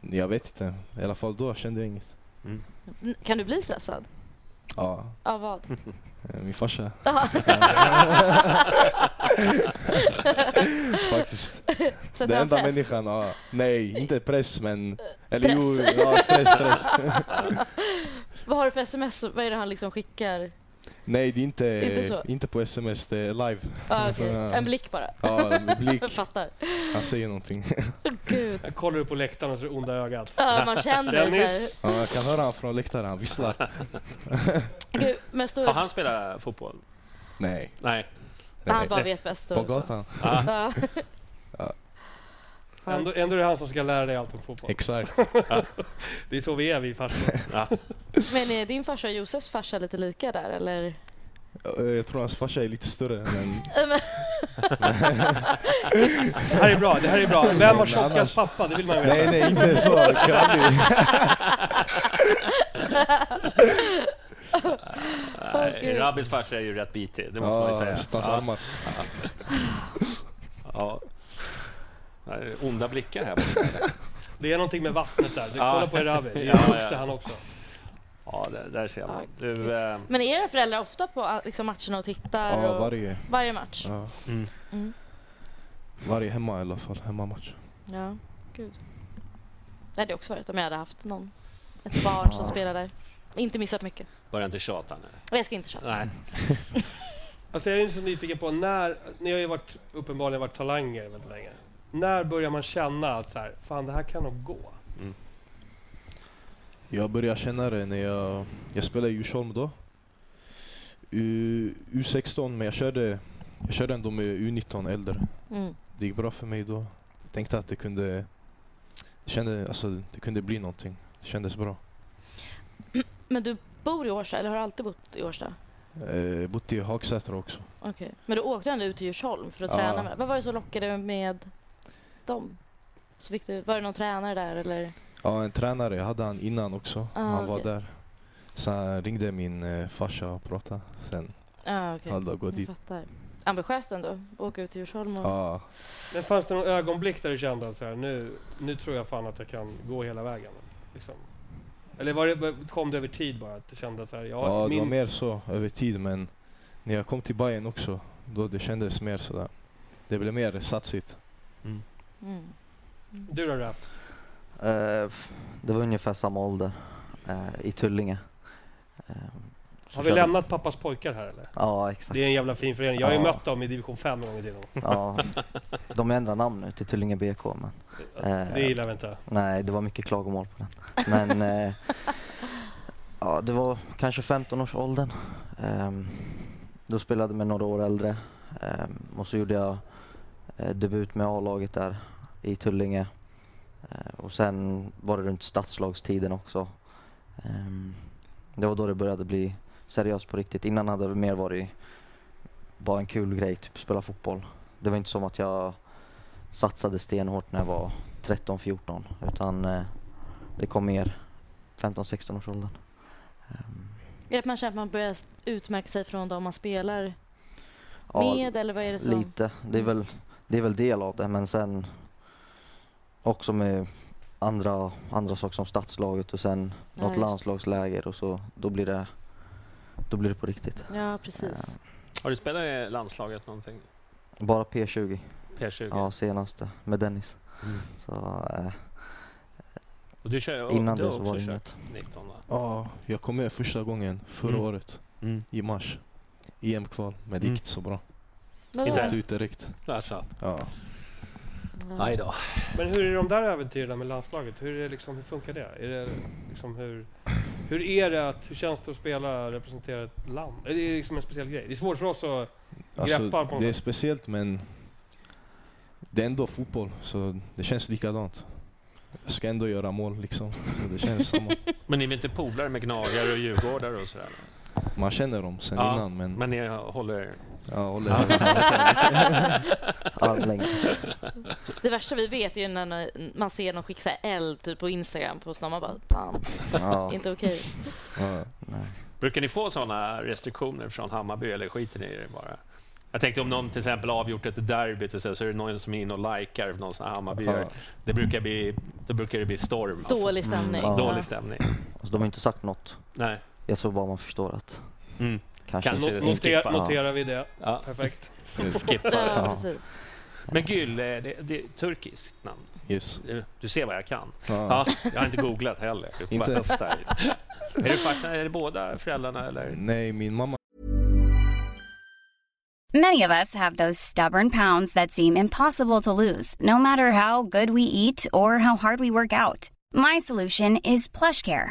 Speaker 4: Jag vet inte, i alla fall då kände jag inget.
Speaker 3: N- Kan du bli stressad?
Speaker 4: Ja,
Speaker 3: Av vad?
Speaker 4: eh, min farsa.
Speaker 3: Ja,
Speaker 4: Faktiskt.
Speaker 3: så att
Speaker 4: Den
Speaker 3: han
Speaker 4: enda
Speaker 3: press.
Speaker 4: människan, ja. Nej, inte press men...
Speaker 3: stress.
Speaker 4: jo, ja, stress, stress.
Speaker 3: Vad har du för sms? Vad är det han liksom skickar?
Speaker 4: Nej, det är inte,
Speaker 3: Inte så.
Speaker 4: inte på sms, det är live.
Speaker 3: Ah, okej.
Speaker 4: Ja.
Speaker 3: En blick bara.
Speaker 4: Ja, en blick.
Speaker 3: Jag fattar.
Speaker 4: Han säger någonting.
Speaker 3: Åh, Gud.
Speaker 5: Jag kollar upp på läktaren och så är det onda ögat.
Speaker 3: Ja, man känner så här.
Speaker 5: Dennis,
Speaker 4: Ja, jag kan höra honom från läktaren, han visslar.
Speaker 3: Gud, men stor...
Speaker 2: Har
Speaker 3: Han,
Speaker 2: han spelat fotboll?
Speaker 4: Nej.
Speaker 2: Nej.
Speaker 4: nej.
Speaker 3: bara vet bäst.
Speaker 4: På
Speaker 3: och så.
Speaker 4: gatan.
Speaker 3: Ja.
Speaker 5: ändå, ändå är det han som ska lära dig allt om fotboll.
Speaker 4: Exakt.
Speaker 5: Det är så vi är vi farsor.
Speaker 2: Ja.
Speaker 3: Men är din farsa och Josefs farsa lite lika där eller?
Speaker 4: Eh, Jag tror hans farsa är lite större men...
Speaker 3: Äh, men-
Speaker 5: Det här är bra, det här är bra. Vem var
Speaker 4: Men
Speaker 5: tjockast
Speaker 4: annars-
Speaker 5: pappa? Det vill man veta.
Speaker 4: Nej, nej, inte så. Jag kan aldrig.
Speaker 3: Åh, gud.
Speaker 2: Rabis farsa är ju rätt bitig, det måste man ju
Speaker 4: Ja,
Speaker 2: säga.
Speaker 4: hans armar.
Speaker 2: Ja. Ja, det är Onda blickar här. borta.
Speaker 5: Det är någonting med vattnet där. Du,
Speaker 2: Ja.
Speaker 5: kolla på Erabi. Det är
Speaker 2: Ja, ja.
Speaker 5: vuxen han också.
Speaker 2: Ja, där, där ser man.
Speaker 3: Ja,
Speaker 2: Du, eh,
Speaker 3: Men är era föräldrar ofta på ah, liksom, matcherna och tittar?
Speaker 4: Ja,
Speaker 3: och...
Speaker 4: varje.
Speaker 3: varje match?
Speaker 4: Ja.
Speaker 2: Mm.
Speaker 3: Mm.
Speaker 4: Varje hemma i alla fall, hemmamatch.
Speaker 3: Ja, gud. Det hade jag också varit om jag hade haft någon. Ett barn som spelar där. Inte missat mycket.
Speaker 2: börja inte tjata nu.
Speaker 3: Men Jag ska inte tjata.
Speaker 2: Nej.
Speaker 5: Alltså jag är ju så nyfiken på när, ni har ju varit, uppenbarligen varit talanger väldigt länge. När börjar man känna att så här, fan det här kan nog gå?
Speaker 4: Jag började känna det när jag, jag spelade i Djursholm då. U, U16, men jag körde, jag körde ändå med U19 äldre.
Speaker 3: Mm.
Speaker 4: Det gick bra för mig då. Tänkte att det kunde, kände, alltså, det kunde bli någonting. Det kändes bra.
Speaker 3: Men du bor i Årsta, eller har du alltid bott i Årsta?
Speaker 4: Eh, bott i Hagsätra också.
Speaker 3: Okej. Men du åkte ändå ut till Djursholm för att
Speaker 4: Ja.
Speaker 3: träna med. Vad var det som lockade med dem? Så fick du, var det någon tränare där eller?
Speaker 4: Ja, en tränare jag hade han innan också.
Speaker 3: Ah,
Speaker 4: han var
Speaker 3: okej.
Speaker 4: där. Sen ringde min eh, farsa och pratade. Sen
Speaker 3: Ja, okej.
Speaker 4: hade jag gått
Speaker 3: Jag
Speaker 4: dit.
Speaker 3: fattar. Ambitiöst ändå, åka ut till Djursholm och...
Speaker 4: Ja,
Speaker 5: Men fanns det någon ögonblick där du kände att så här, nu, nu tror jag fan att jag kan gå hela vägen? Liksom. Eller var det, kom det över tid bara? Att du kände att så här, ja,
Speaker 4: ja, det var
Speaker 5: min,
Speaker 4: mer så över tid men när jag kom till Bayern också, då det kändes mer sådär. Det blev mer satsigt.
Speaker 3: Mm.
Speaker 5: du då Raff?
Speaker 1: Eh, f- det var ungefär samma ålder eh, i Tullinge. Eh, så
Speaker 5: Har vi
Speaker 1: körde-
Speaker 5: lämnat pappas pojkar här eller?
Speaker 1: Ja, exakt.
Speaker 5: Det är en jävla fin förening. Jag har ju
Speaker 1: Ja.
Speaker 5: mött dem i division 5 en gång i tiden.
Speaker 1: Ja, de ändrar namn nu till Tullinge BK men Eh.
Speaker 5: Det gillar vi inte.
Speaker 1: nej, det var mycket klagomål på den. Men eh, ja, det var kanske 15-årsåldern. Ehm, då spelade jag med några år äldre Ehm, och så gjorde jag eh, debut med A-laget där i Tullinge. Eh, och sen var det runt stadslagstiden också. Ehm, det var då det började bli seriöst på riktigt. Innan hade det mer varit bara en kul grej, typ spela fotboll. Det var inte som att jag satsade stenhårt när jag var 13-14 utan eh, det kom mer 15-16 års åldern. Ehm,
Speaker 3: Är det att man känner att man börjar utmärka sig från de man spelar
Speaker 1: ja,
Speaker 3: med? Eller vad är det som...
Speaker 1: Lite. Det
Speaker 3: Mm.
Speaker 1: är, väl, det är väl del av det, men sen också med andra, andra saker som stadslaget och sen
Speaker 3: Ja,
Speaker 1: något
Speaker 3: just det.
Speaker 1: landslagsläger och så. Då blir det, då blir det på riktigt.
Speaker 3: Ja, precis.
Speaker 2: Har du spelat i landslaget någonting?
Speaker 1: Bara P20,
Speaker 2: P20?
Speaker 1: ja senaste, med Dennis.
Speaker 2: Mm.
Speaker 1: Så, eh,
Speaker 2: Och du kör ju
Speaker 1: innan
Speaker 2: du har
Speaker 1: det så
Speaker 2: också
Speaker 1: var det
Speaker 2: kört
Speaker 1: inget.
Speaker 2: 19 va?
Speaker 4: Ja, jag kom med första gången förra
Speaker 2: Mm.
Speaker 4: året i mars. EM-kval, men det
Speaker 2: Mm.
Speaker 4: gick inte så bra.
Speaker 3: Vadå?
Speaker 2: Inte.
Speaker 4: Åkte ut direkt.
Speaker 2: Alltså,
Speaker 4: Ja.
Speaker 3: Ja.
Speaker 2: aj då.
Speaker 5: Men hur är de där äventyren med landslaget? Hur, är det liksom, hur funkar det? Är det liksom hur, hur är det att, hur känns det att spela, representera ett land? Är det liksom en speciell grej? Det är svårt för oss att... Greppar på något
Speaker 4: Alltså, det är
Speaker 5: sätt.
Speaker 4: speciellt men det är ändå fotboll så det känns likadant. Jag ska ändå göra mål liksom. Så det känns samma.
Speaker 2: Men ni är väl inte polare med gnagare och djurgårdare och sådär?
Speaker 4: Man känner dem sen
Speaker 2: Ja,
Speaker 4: innan men,
Speaker 2: Men ni håller...
Speaker 4: ja, håller högerna.
Speaker 1: Armlängd.
Speaker 3: Det värsta vi vet är ju när man ser någon skicka så här eld typ på Instagram på sådana. Man bara, fan,
Speaker 1: Ja,
Speaker 3: inte okej.
Speaker 4: Ja.
Speaker 1: nej.
Speaker 2: Brukar ni få sådana restriktioner från Hammarby eller skiter ni i det bara? Jag tänkte om någon till exempel avgjort ett derby och så, så är det någon som är inne och likar någon sån här Hammarbyare.
Speaker 4: Ja.
Speaker 2: Det brukar bli, då brukar det bli storm. Alltså.
Speaker 3: Dålig stämning.
Speaker 1: Mm, ja.
Speaker 2: Dålig stämning.
Speaker 1: Alltså, de har inte sagt något.
Speaker 2: Nej.
Speaker 1: Jag tror bara man förstår att
Speaker 2: Mm.
Speaker 1: kanske...
Speaker 2: Kanske. det
Speaker 5: Not-
Speaker 2: skippar.
Speaker 5: notera, noterar vi det.
Speaker 2: Ja.
Speaker 5: Perfekt.
Speaker 2: Skippa det.
Speaker 3: Ja,
Speaker 1: Ja.
Speaker 3: precis.
Speaker 2: Men Gül, eh, det, det är ett turkiskt namn.
Speaker 4: Yes.
Speaker 2: Du ser vad jag kan.
Speaker 4: Ja.
Speaker 2: Ja, jag har inte googlat heller. Jag bara
Speaker 4: Inte?
Speaker 2: höftar lite. Är det, farsan, är det båda föräldrarna eller?
Speaker 4: Nej, min mamma
Speaker 6: Many of us have those stubborn pounds that seem impossible to lose, no matter how good we eat or how hard we work out. My solution is PlushCare.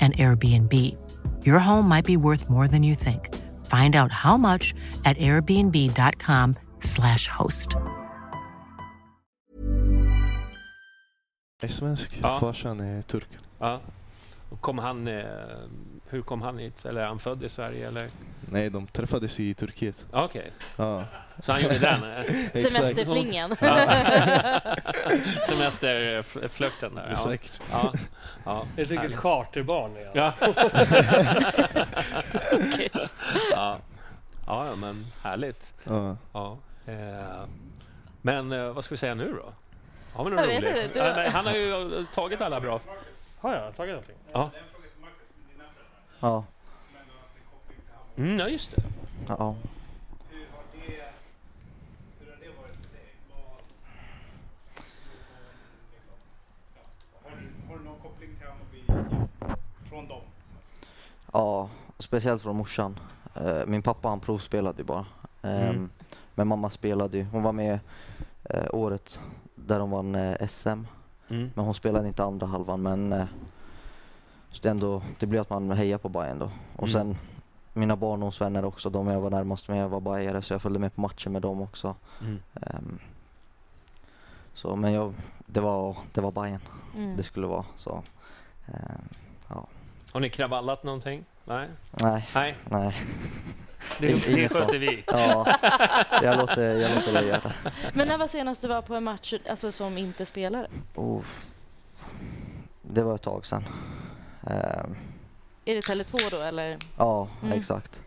Speaker 7: an Airbnb. Your home might be worth more than you think. Find out how much at airbnb.com/slash host.
Speaker 4: är svensk,
Speaker 2: Ja.
Speaker 4: farsan är turk.
Speaker 2: Ja. Och Kom han, eh, hur kom han hit? Eller är han född i Sverige? Eller?
Speaker 4: Nej, de träffades i Turkiet.
Speaker 2: Ja, Okej,
Speaker 4: Ja,
Speaker 2: så han gjorde den? eh?
Speaker 4: exakt.
Speaker 3: Semesterflingen.
Speaker 2: Ja. Semesterflörten där. Ja.
Speaker 4: Exakt.
Speaker 2: Ja. Ja.
Speaker 5: Ett riktigt charterbarn är han.
Speaker 2: Ja.
Speaker 3: Gud.
Speaker 2: ja. ja, men härligt.
Speaker 4: Ja.
Speaker 2: Ja. Eh, Men eh, vad ska vi säga nu då? Har vi någon
Speaker 3: Jag vet
Speaker 2: rolig?
Speaker 3: inte, du-
Speaker 2: Ja, nej, Han har ju tagit alla bra.
Speaker 5: Har jag tagit någonting?
Speaker 1: Ja,
Speaker 2: Mm, ja, just det.
Speaker 1: ja. Ja, speciellt från morsan. Eh, Min pappa han provspelade ju bara. Ehm,
Speaker 2: Mm.
Speaker 1: Men mamma spelade ju. Hon var med eh, året där hon vann eh, SM.
Speaker 2: Mm.
Speaker 1: Men hon spelade inte andra halvan men eh, så det, är ändå, det blir att man hejar på Bayern då. Och
Speaker 2: Mm.
Speaker 1: sen mina barndomsvänner också, de jag var närmast med var Bajare så jag följde med på matcher med dem också.
Speaker 2: Mm.
Speaker 1: Ehm, så, men jag, det var, det var Bayern
Speaker 3: Mm.
Speaker 1: det skulle vara. Så, ehm,
Speaker 2: Har ni kravallat någonting? Nej?
Speaker 1: nej,
Speaker 2: Nej.
Speaker 1: nej.
Speaker 8: Det, det sköter vi.
Speaker 1: Ja, jag låter, jag låter dig göra det.
Speaker 3: Men när var senast du var på en match alltså, som inte spelare?
Speaker 1: Oh. Det var ett tag sedan. Ehm,
Speaker 3: Är det Tele2 då eller?
Speaker 1: ja,
Speaker 3: Mm.
Speaker 1: exakt.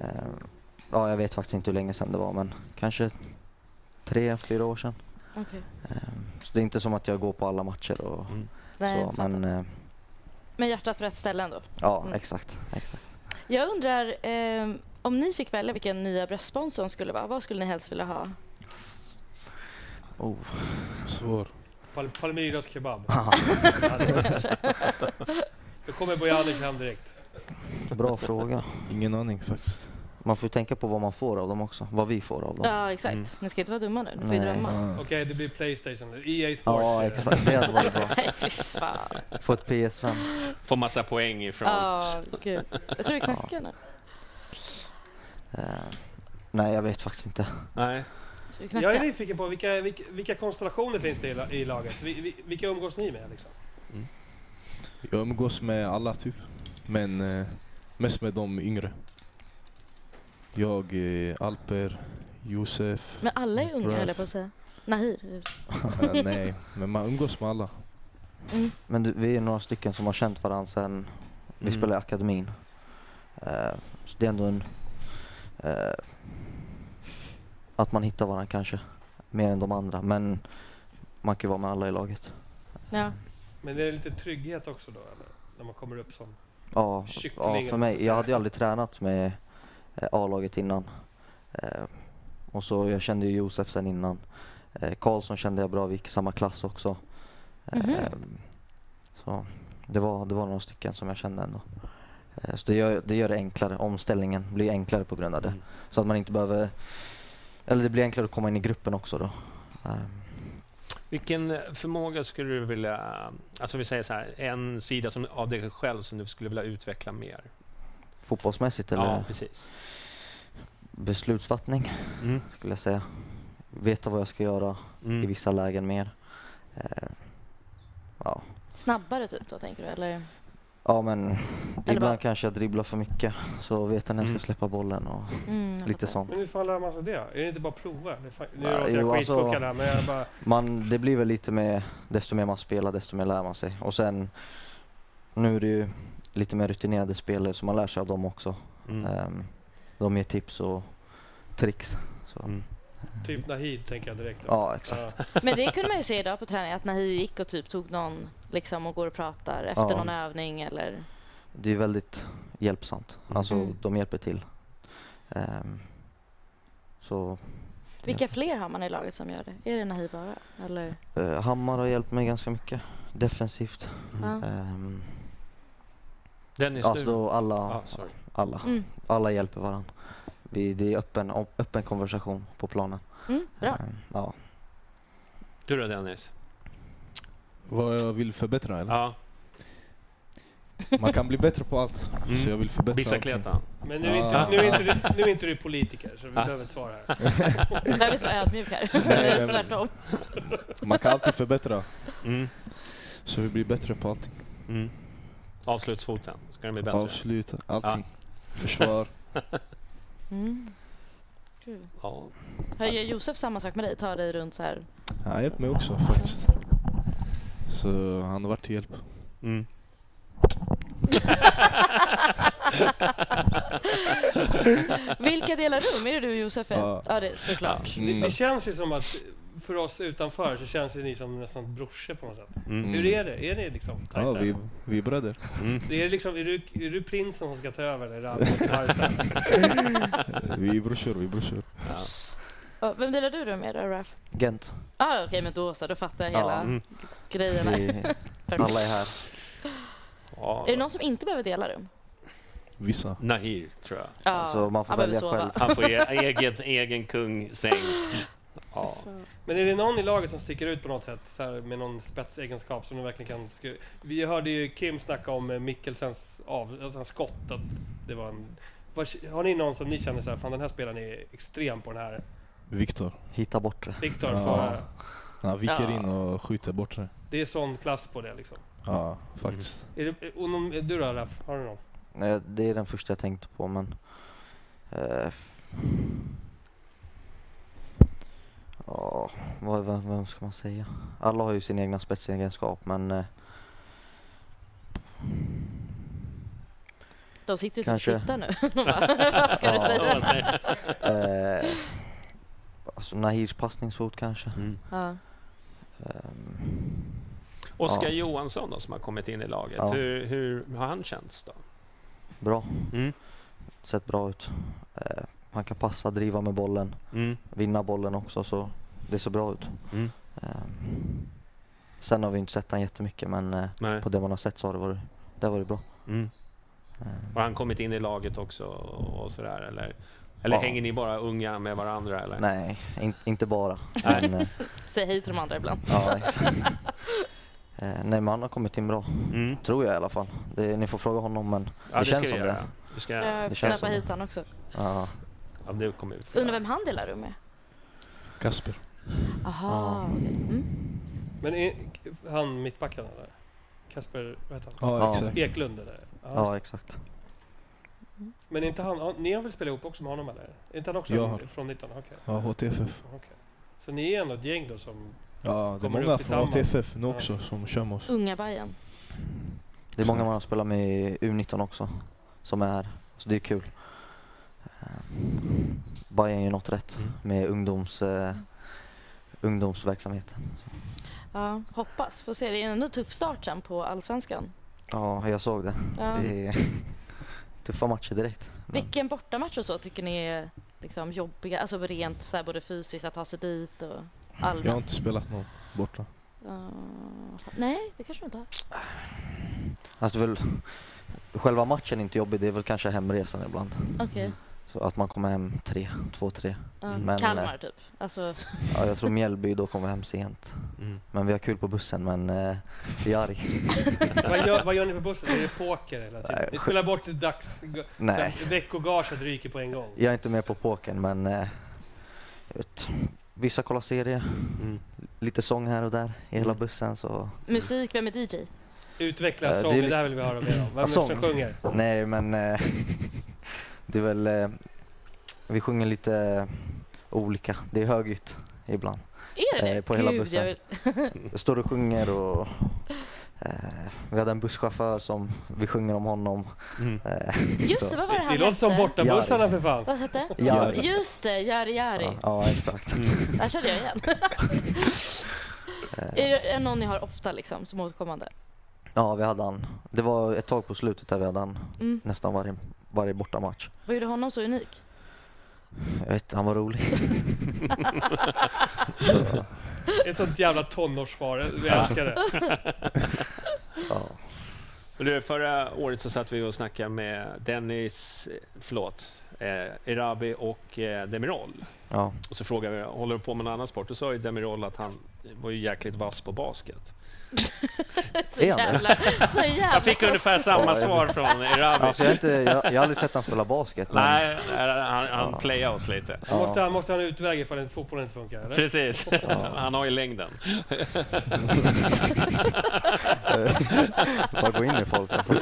Speaker 1: Ehm, ja, jag vet faktiskt inte hur länge sedan det var, men kanske tre, fyra år sedan.
Speaker 3: Okej.
Speaker 1: Ehm, så det är inte som att jag går på alla matcher och
Speaker 3: Nej,
Speaker 1: så,
Speaker 3: jag fattar.
Speaker 1: men eh,
Speaker 3: Men hjärtat på rätt ställe ändå.
Speaker 1: ja,
Speaker 3: Mm.
Speaker 1: exakt, exakt.
Speaker 3: Jag undrar eh, om ni fick välja vilken nya bröstsponsorn skulle vara. Vad skulle ni helst vilja ha?
Speaker 1: Oh.
Speaker 4: Svår.
Speaker 5: Pal- Palmyras kebab. Ja, det- Då kommer Bojanic hem direkt.
Speaker 1: Bra fråga.
Speaker 4: Ingen aning faktiskt.
Speaker 1: Man får ju tänka på vad man får av dem också. Vad vi får av dem.
Speaker 3: Ja, exakt.
Speaker 4: Mm.
Speaker 3: Ni ska inte vara dumma nu. Ni får ju
Speaker 1: Nej.
Speaker 3: drömma.
Speaker 4: Ah.
Speaker 5: Okej, det blir Playstation. EA Sports.
Speaker 1: Ja,
Speaker 5: blir det.
Speaker 1: exakt. Det hade varit bra.
Speaker 3: Nej, fy fan.
Speaker 1: Få ett PS5.
Speaker 2: Får massa poäng ifrån.
Speaker 3: Ja, gud. Jag tror det knackar nu.
Speaker 1: Ehm, nej, jag vet faktiskt inte.
Speaker 2: Nej.
Speaker 3: Jag tror det
Speaker 5: Jag är
Speaker 3: knackar.
Speaker 5: nyfiken på vilka, vilka, vilka konstellationer finns det i, la- i laget? Vi, vi, vilka umgås ni med? Liksom?
Speaker 4: Jag umgås med alla typ. Men eh, mest med de yngre. Jag, eh, Alper, Josef.
Speaker 3: Men alla är unga
Speaker 4: Ralph.
Speaker 3: höll jag på att säga. Nahir.
Speaker 4: Eh, nej, men man umgås med alla.
Speaker 3: Mm.
Speaker 1: Men du, vi är några stycken som har känt varandra sedan vi
Speaker 2: Mm.
Speaker 1: spelade i akademin. Eh, så det är ändå en... eh, att man hittar varandra kanske. Mer än de andra. Men man kan ju vara med alla i laget.
Speaker 3: Ja.
Speaker 5: Men det är lite trygghet också då, eller? När man kommer upp som...
Speaker 1: Ja, ja
Speaker 5: Kycklingar,
Speaker 1: för
Speaker 5: så att
Speaker 1: mig.
Speaker 5: säga.
Speaker 1: Jag hade ju aldrig tränat med eh, A-laget innan. Eh, och så jag kände ju Josef sen innan. Eh, Karlsson kände jag bra, vi gick i samma klass också.
Speaker 3: Mhm.
Speaker 1: Eh, så det var, det var några stycken som jag kände ändå. Eh, så det gör, det gör det enklare, omställningen blir enklare på grund av det.
Speaker 2: Mm.
Speaker 1: Så att man inte behöver, eller det blir enklare att komma in i gruppen också då. Eh,
Speaker 2: Vilken förmåga skulle du vilja... Alltså vi säger så här, en sida som, av dig själv som du skulle vilja utveckla mer?
Speaker 1: fotbollsmässigt eller
Speaker 2: Ja, precis.
Speaker 1: beslutsfattning
Speaker 2: Mm.
Speaker 1: skulle jag säga. Veta vad jag ska göra, i
Speaker 2: Mm.
Speaker 1: vissa lägen mer. Eh, ja.
Speaker 3: Snabbare typ då tänker du eller?
Speaker 1: ja, men
Speaker 3: bara-
Speaker 1: ibland kanske jag dribblar för mycket så vet jag när jag
Speaker 2: Mm.
Speaker 1: ska släppa bollen och
Speaker 3: Mm, jag
Speaker 1: lite
Speaker 3: fattar.
Speaker 1: sånt.
Speaker 5: Men hur fan lär man sig det? Är det inte bara att prova? Det är fan- Nu
Speaker 1: Ja,
Speaker 5: låter
Speaker 1: jo,
Speaker 5: jag
Speaker 1: alltså-
Speaker 5: skitpuckad här, men jag bara...
Speaker 1: Man, det blir väl lite med, desto mer man spelar desto mer lär man sig. Och sen, nu är det ju lite mer rutinerade spelare så man lär sig av dem också.
Speaker 2: Mm.
Speaker 1: Ehm, de ger tips och tricks. Så.
Speaker 2: Mm.
Speaker 5: Typ Nahir tänker jag direkt. då.
Speaker 1: Ja, exakt.
Speaker 5: Ja.
Speaker 3: Men det kunde man ju se idag på träning att Nahir gick och typ tog någon liksom och går och pratar efter
Speaker 1: Ja.
Speaker 3: någon övning eller?
Speaker 1: Det är väldigt hjälpsamt. Alltså,
Speaker 3: Mm.
Speaker 1: de hjälper till. Ehm, så
Speaker 3: Vilka fler har man i laget som gör det? Är det Nahir bara? Eller?
Speaker 1: eh, Hammar har hjälpt mig ganska mycket defensivt.
Speaker 2: Mm.
Speaker 3: Ja.
Speaker 1: Ehm,
Speaker 2: Dennis,
Speaker 1: Alltså
Speaker 2: du?
Speaker 1: då alla,
Speaker 2: Ja, sorry.
Speaker 1: alla,
Speaker 3: Mm.
Speaker 1: alla hjälper varandra. Vi, det är öppen, o- öppen konversation på planen.
Speaker 3: Mm, bra.
Speaker 1: Ehm, Ja.
Speaker 2: Du då, Dennis?
Speaker 4: Vad jag vill förbättra eller?
Speaker 2: Ja.
Speaker 4: Man kan bli bättre på allt.
Speaker 2: Mm.
Speaker 4: Så jag vill förbättra
Speaker 2: Bissa
Speaker 4: allting.
Speaker 2: kletan.
Speaker 5: Men nu är, inte, nu, är inte, du- nu är inte du politiker, så vi behöver ett svar här.
Speaker 3: Jag behöver inte vara ödmjuk här.
Speaker 4: Nej, men-
Speaker 3: Tvärtom.
Speaker 4: Man kan alltid förbättra.
Speaker 2: Mm.
Speaker 4: Så vi blir bättre på allting.
Speaker 2: Mm. Avslutsfoten, ska den bli bättre?
Speaker 4: Avslut, allting. Försvar.
Speaker 3: Mm. Kul.
Speaker 2: ja.
Speaker 3: Har ju Josef samma sak med dig? Tar dig runt så här?
Speaker 4: Han har hjälpt mig också faktiskt. Så han har varit till hjälp.
Speaker 2: Mm.
Speaker 3: Vilka delar rum? Är det du och Josef? Ja,
Speaker 4: Ja.
Speaker 3: ja det är såklart.
Speaker 4: Mm.
Speaker 5: Det, det känns ju som att för oss utanför så känns ju ni som nästan brorsor på något sätt.
Speaker 2: Mm.
Speaker 5: Hur är det? Är ni liksom
Speaker 4: Ja,
Speaker 5: tajta?
Speaker 4: vi, vi är bröder.
Speaker 5: Det är, liksom, är, du, är du prinsen som ska ta över? Eller Ralf och Harrison?
Speaker 4: Vi är brorsor, vi är brorsor.
Speaker 2: Ja.
Speaker 3: Ja, Vem delar du rum med då, Ralph?
Speaker 1: Gent,
Speaker 3: Ah, Okej, men då så. Då fattar jag
Speaker 1: Ja.
Speaker 3: hela
Speaker 2: Mm.
Speaker 3: grejerna.
Speaker 1: vi,
Speaker 3: Perfekt.
Speaker 1: alla är här.
Speaker 2: Ja.
Speaker 3: Är det någon som inte behöver dela rum?
Speaker 4: Vissa.
Speaker 2: Nahir, tror jag.
Speaker 3: Ja,
Speaker 1: Alltså, man får
Speaker 3: han behöver
Speaker 1: välja
Speaker 3: sova.
Speaker 1: själv.
Speaker 2: Han får e- egen, egen kung, säng. Ja.
Speaker 5: Men är det någon i laget som sticker ut på något sätt så här, med någon spetsegenskap som de verkligen kan... skru- Vi hörde ju Kim snacka om eh, Mikkelsens av, att han skott, att det var en... Vad- Har ni någon som ni känner så här, fan den här spelaren är extrem på den här?
Speaker 4: Viktor.
Speaker 1: Hitta bort det.
Speaker 5: Viktor,
Speaker 4: Ja.
Speaker 5: får-
Speaker 4: Han viker
Speaker 3: Ja.
Speaker 4: in och skjuter bort det.
Speaker 5: det är sån klass på det liksom.
Speaker 4: Ja, faktiskt.
Speaker 5: Är det, och någon, du då Raff, har du någon?
Speaker 1: Eh, Det är den första jag tänkte på men Eh, Ja, vad, vem, vem ska man säga? Alla har ju sina egna spetsegenskap men eh,
Speaker 3: De sitter ju typ
Speaker 1: Kanske.
Speaker 3: och tittar nu. De bara, Vad ska du
Speaker 1: Ja.
Speaker 3: säga?
Speaker 1: eh, alltså Nahirs passningsfot kanske.
Speaker 2: Mm.
Speaker 3: Ja.
Speaker 1: Ehm,
Speaker 2: Oskar
Speaker 1: Ja.
Speaker 2: Johansson då, som har kommit in i laget,
Speaker 1: Ja.
Speaker 2: hur, hur har han känts då?
Speaker 1: bra,
Speaker 2: Mm.
Speaker 1: sett bra ut. Eh, han kan passa, driva med bollen, vinna bollen också så det ser bra ut.
Speaker 2: Mm.
Speaker 1: Ehm, sen har vi inte sett han jättemycket men eh,
Speaker 2: Nej.
Speaker 1: på det man har sett så har det varit, det har varit bra.
Speaker 2: Mm.
Speaker 1: Ehm,
Speaker 2: Har han kommit in i laget också och sådär eller? Eller
Speaker 1: Ja.
Speaker 2: hänger ni bara unga med varandra eller?
Speaker 1: nej, in, inte bara.
Speaker 2: Nej.
Speaker 1: Men, eh,
Speaker 3: Säg hej till de andra ibland.
Speaker 1: ja, exakt. Eh, nej men han har kommit in bra.
Speaker 2: Mm.
Speaker 1: Tror jag i alla fall. Det, ni får fråga honom men
Speaker 2: Ja,
Speaker 1: det
Speaker 2: ska
Speaker 1: känns
Speaker 2: vi
Speaker 1: som
Speaker 2: göra.
Speaker 1: det.
Speaker 2: Vi ska, ja.
Speaker 3: Jag
Speaker 1: det känns
Speaker 3: snappa
Speaker 1: som det.
Speaker 3: hit han också.
Speaker 1: Ja,
Speaker 2: det kommer vi få
Speaker 3: Undrar
Speaker 2: göra.
Speaker 3: vem han delar rum med?
Speaker 4: Kasper.
Speaker 3: Aha,
Speaker 1: Ja.
Speaker 3: okej. mm.
Speaker 5: Men är, han mittbacken eller? Kasper, vad heter han?
Speaker 4: Ja,
Speaker 1: Ja.
Speaker 4: exakt.
Speaker 5: Eklund eller? Ja,
Speaker 1: ja
Speaker 5: just
Speaker 1: exakt.
Speaker 5: det. Men är inte han, ja, ni har väl spelat ihop också med honom eller? Är inte han också
Speaker 4: Jag har.
Speaker 5: från 19? Okej.
Speaker 4: Ja, HTFF.
Speaker 5: Så ni är ändå ett gäng då som...
Speaker 4: Ja, det är
Speaker 5: Kommer
Speaker 4: många
Speaker 5: upp
Speaker 4: från
Speaker 5: tillsammans.
Speaker 4: HTFF nu
Speaker 5: Ja.
Speaker 4: också som kör med oss.
Speaker 3: Unga Bajen.
Speaker 1: Det är många man har spelat med i U19 också som är här. Så det är kul. Ehm, Bayern gör något rätt
Speaker 2: Mm.
Speaker 1: med ungdoms, eh, ungdomsverksamheten.
Speaker 3: Ja, hoppas. Får se. Det är ändå en tuff start sen på Allsvenskan.
Speaker 1: Ja, jag såg det.
Speaker 3: Ja.
Speaker 1: Det är tuffa matcher direkt. Men,
Speaker 3: Vilken bortamatch och så tycker ni är liksom jobbiga? Alltså rent så här, både fysiskt att ta sig dit och
Speaker 4: Jag har
Speaker 3: allmänt?
Speaker 4: inte spelat någon borta.
Speaker 3: Ja. nej, det kanske du inte har.
Speaker 1: alltså väl, själva matchen är inte jobbig, det är väl kanske hemresan ibland.
Speaker 2: Mm.
Speaker 3: Okej.
Speaker 1: Så att man kommer hem tre, två, tre.
Speaker 3: Ja,
Speaker 1: Mm. Men,
Speaker 3: Kalmar typ. Alltså,
Speaker 1: Ja, jag tror Mjällby då kommer hem sent.
Speaker 2: Mm.
Speaker 1: Men vi har kul på bussen men eh, vi är arg.
Speaker 5: vad, gör, vad gör ni på bussen? Är det poker hela tiden?
Speaker 1: Nej,
Speaker 5: Ni
Speaker 1: sj-
Speaker 5: spelar bort dags...
Speaker 1: Nej.
Speaker 5: sen Veckogaget ryker på en gång.
Speaker 1: Jag är inte med på pokern men eh, jag vet, vissa kollar serier,
Speaker 2: Mm.
Speaker 1: lite sång här och där i
Speaker 3: Mm.
Speaker 1: hela bussen så
Speaker 3: musik, vem är DJ?
Speaker 5: Utveckla
Speaker 1: Eh,
Speaker 5: en
Speaker 1: det
Speaker 5: sång,
Speaker 1: är
Speaker 5: det
Speaker 1: li-
Speaker 5: där vill vi höra mer om. Vem är det
Speaker 1: Sång.
Speaker 5: som sjunger?
Speaker 1: nej men eh, det är väl eh, vi sjunger lite olika, det är högljutt ibland.
Speaker 3: Är det
Speaker 1: Eh,
Speaker 3: det?
Speaker 1: på hela
Speaker 3: jag
Speaker 1: bussen.
Speaker 3: vill-
Speaker 1: Jag står och sjunger och eh, vi hade en busschaufför som vi sjunger om honom.
Speaker 2: Mm.
Speaker 1: Eh,
Speaker 3: Just
Speaker 1: Så.
Speaker 3: det, vad var det
Speaker 5: Det
Speaker 3: han
Speaker 5: låter som
Speaker 3: hette?
Speaker 5: bortabussarna för fan.
Speaker 3: Vad hette?
Speaker 1: Jari.
Speaker 3: Just det, Jari Jari.
Speaker 1: så, ja exakt.
Speaker 3: Där körde jag igen. är det är någon ni har ofta liksom, som återkommande?
Speaker 1: Eh, Ja vi hade han. Det var ett tag på slutet där vi hade han
Speaker 3: Mm.
Speaker 1: nästan varje, varje bortamatch.
Speaker 3: Vad gjorde honom så unik?
Speaker 1: Jag vet, han var rolig.
Speaker 5: Ett sånt jävla tonårssvar. Vi älskar det.
Speaker 1: Ja.
Speaker 2: Men Du, förra året så satt vi och snackade med Dennis, eh, förlåt, eh, Erabi och eh, Demirol.
Speaker 1: Ja,
Speaker 2: Och så frågade vi, håller du på med någon annan sport? Då sa ju Demirol att han var ju jäkligt vass på basket.
Speaker 3: Så
Speaker 1: Är han det?
Speaker 3: jävla... Så jävla...
Speaker 2: Jag fick ungefär samma svar från Erabi.
Speaker 1: alltså jag, har inte, jag, jag har aldrig sett han spela basket. men-
Speaker 2: Nej, eh, han, han playade oss lite.
Speaker 1: Ja.
Speaker 5: Måste han, måste han utväg ifall en fotbollen inte funkar? Eller?
Speaker 2: Precis, han har ju längden.
Speaker 1: Eh, Bara gå in i folk alltså.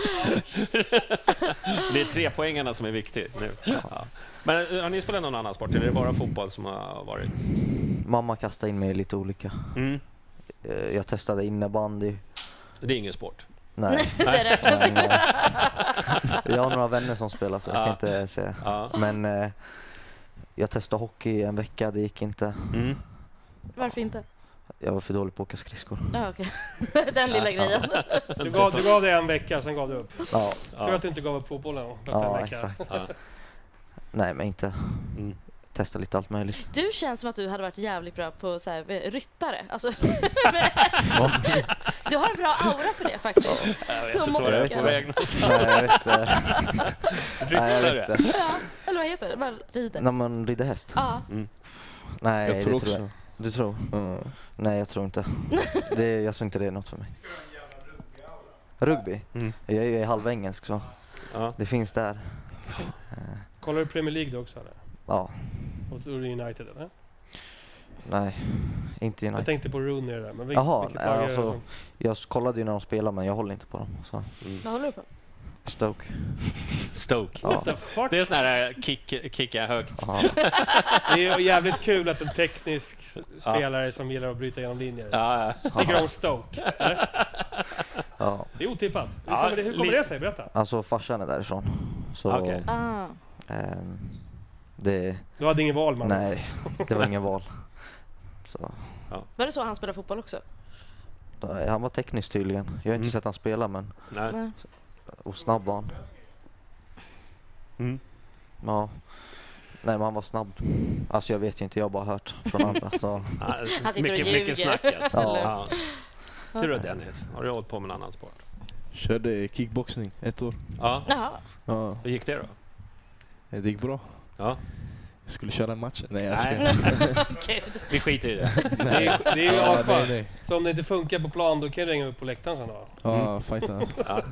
Speaker 2: Det är tre poängarna som är viktigt nu. Ja. Men eh, har ni spelat någon annan sport eller är det bara fotboll som har varit?
Speaker 1: Mamma kastade in mig i lite olika.
Speaker 2: Mm.
Speaker 1: Eh, Jag testade innebandy.
Speaker 2: Det är ingen sport.
Speaker 1: Nej.
Speaker 3: Det räknas
Speaker 1: Men,
Speaker 3: inte.
Speaker 1: eh, jag har några vänner som spelar så jag
Speaker 2: Ja.
Speaker 1: kan inte säga.
Speaker 2: Ja.
Speaker 1: Men eh, jag testade hockey en vecka, det gick inte.
Speaker 2: Mm.
Speaker 3: Varför inte?
Speaker 1: Jag var för dålig på att åka skridskor.
Speaker 3: Ja, okej. Den lilla grejen.
Speaker 5: Du, gav, du gav det en vecka, sen gav du upp.
Speaker 1: Ja,
Speaker 5: Tur
Speaker 2: Ja.
Speaker 5: att du inte gav upp fotbollen efter en
Speaker 1: ja
Speaker 5: vecka.
Speaker 1: exakt.
Speaker 2: Ja.
Speaker 1: Nej men inte.
Speaker 2: Mm.
Speaker 1: Testa lite allt möjligt.
Speaker 3: Du känns som att du hade varit jävligt bra på så här, ryttare. Alltså, du har en bra aura för det faktiskt.
Speaker 2: Jag vet
Speaker 3: Som
Speaker 2: inte vad jag är på
Speaker 3: åker.
Speaker 2: väg någonstans.
Speaker 1: Nej jag vet, eh, nej, jag vet inte.
Speaker 3: Ja, eller vad heter det? Bara rider.
Speaker 1: När man rider häst?
Speaker 3: Ja,
Speaker 1: Nej
Speaker 4: Jag tror
Speaker 1: det tror
Speaker 4: också.
Speaker 1: jag. Du tror?
Speaker 4: Ja.
Speaker 1: Nej, jag tror inte. Det, jag tror inte det är något för mig. Rugby?
Speaker 2: Mm.
Speaker 1: Jag är ju halvengelsk så
Speaker 2: Ja.
Speaker 1: det finns där. Eh,
Speaker 5: Kollar du Premier League då också eller?
Speaker 1: Ja,
Speaker 5: Och då är det United eller?
Speaker 1: nej. Inte
Speaker 5: Jag
Speaker 1: United.
Speaker 5: tänkte på Rooney där, men vil-
Speaker 1: Jaha,
Speaker 5: vilket
Speaker 1: nej,
Speaker 5: lag är det
Speaker 1: alltså-
Speaker 5: som...
Speaker 1: Jag s- kollade ju när de spelade men jag håller inte på dem. Så.
Speaker 3: vad håller du på?
Speaker 1: Stoke.
Speaker 8: Stoke.
Speaker 1: Ja.
Speaker 5: The fuck?
Speaker 8: Det är sån här eh, kick, kicka högt.
Speaker 1: Ja.
Speaker 5: Det är ju jävligt kul att en teknisk spelare som gillar att bryta genom linjer
Speaker 8: Ja, ja.
Speaker 5: tycker om Stoke. eller?
Speaker 1: ja.
Speaker 5: Det är otippat. Hur
Speaker 8: Ja,
Speaker 5: kommer det, hur kommer
Speaker 8: lite.
Speaker 5: det sig? Berätta.
Speaker 1: Alltså farsan är därifrån. Så
Speaker 8: Okej.
Speaker 3: Ah.
Speaker 1: ehm, det,
Speaker 5: Du hade ingen val man.
Speaker 1: nej, det var ingen val. Så,
Speaker 3: Var det så han spelade fotboll också?
Speaker 1: nej, han var teknisk tydligen. Jag har inte
Speaker 2: Mm.
Speaker 1: sett han spela men,
Speaker 2: Nej.
Speaker 3: Nej.
Speaker 1: och snabb var han.
Speaker 2: Mm.
Speaker 1: Ja. Nej men han var snabb. Alltså jag vet ju inte, jag har bara hört från andra. Så,
Speaker 2: Ja,
Speaker 3: Han sitter
Speaker 2: mycket,
Speaker 3: och ljuger.
Speaker 2: mycket snack alltså.
Speaker 1: Eller?
Speaker 2: ja. Du då Dennis, har du hållit på med en annan sport?
Speaker 4: Körde kickboxning ett år.
Speaker 2: Ja,
Speaker 3: Jaha.
Speaker 4: Ja,
Speaker 2: hur gick det då?
Speaker 4: det gick bra.
Speaker 2: Ja.
Speaker 4: Jag skulle köra en match. Nej, jag skojar.
Speaker 8: Nej,
Speaker 3: Gud.
Speaker 8: vi skiter i det.
Speaker 5: Det är, det är ju
Speaker 4: Ja, nej,
Speaker 5: asskönt.
Speaker 4: nej.
Speaker 5: Så om det inte funkar på plan då kan jag ringa upp på läktaren sen då.
Speaker 4: Ja, fighta.
Speaker 8: Ja.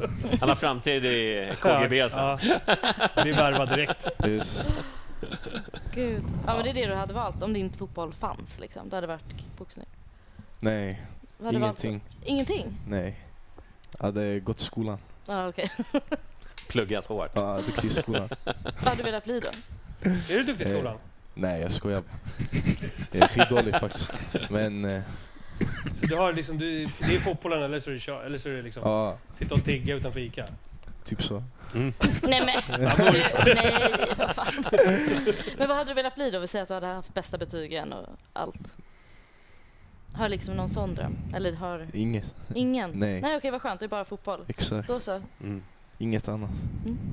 Speaker 8: Han har framtid i KGB
Speaker 2: alltså.
Speaker 8: sen.
Speaker 5: Ja. Vi värvar direkt.
Speaker 4: Yes.
Speaker 3: Gud. Ja, men det är det du hade valt om din fotboll fanns. Liksom. Det hade varit kickboxning.
Speaker 4: Nej,
Speaker 3: Du hade valt-
Speaker 4: ingenting.
Speaker 3: Ingenting?
Speaker 4: Nej. Jag hade gått till skolan.
Speaker 3: Ja, okej.
Speaker 2: Pluggat hårt.
Speaker 4: Ja, duktig i skolan.
Speaker 3: Vad hade du velat bli då?
Speaker 5: Är du duktig i skolan?
Speaker 4: Nej, jag skojar. Jag är skitdålig faktiskt. Men eh,
Speaker 5: Så du har liksom, du, det är fotbollen eller så är det, kö- eller så är det liksom
Speaker 4: ja,
Speaker 5: sitta och tigga utanför ICA.
Speaker 4: typ så.
Speaker 3: Nej men, du, nej, vad fan. Men vad hade du velat bli då? Vi säger att du hade haft bästa betygen och allt. Har liksom någon sån dröm? Eller har
Speaker 4: Inget.
Speaker 3: ingen?
Speaker 4: Nej.
Speaker 3: nej okej, vad skönt. Det är bara fotboll.
Speaker 4: Exakt.
Speaker 3: Då så.
Speaker 4: Inget annat.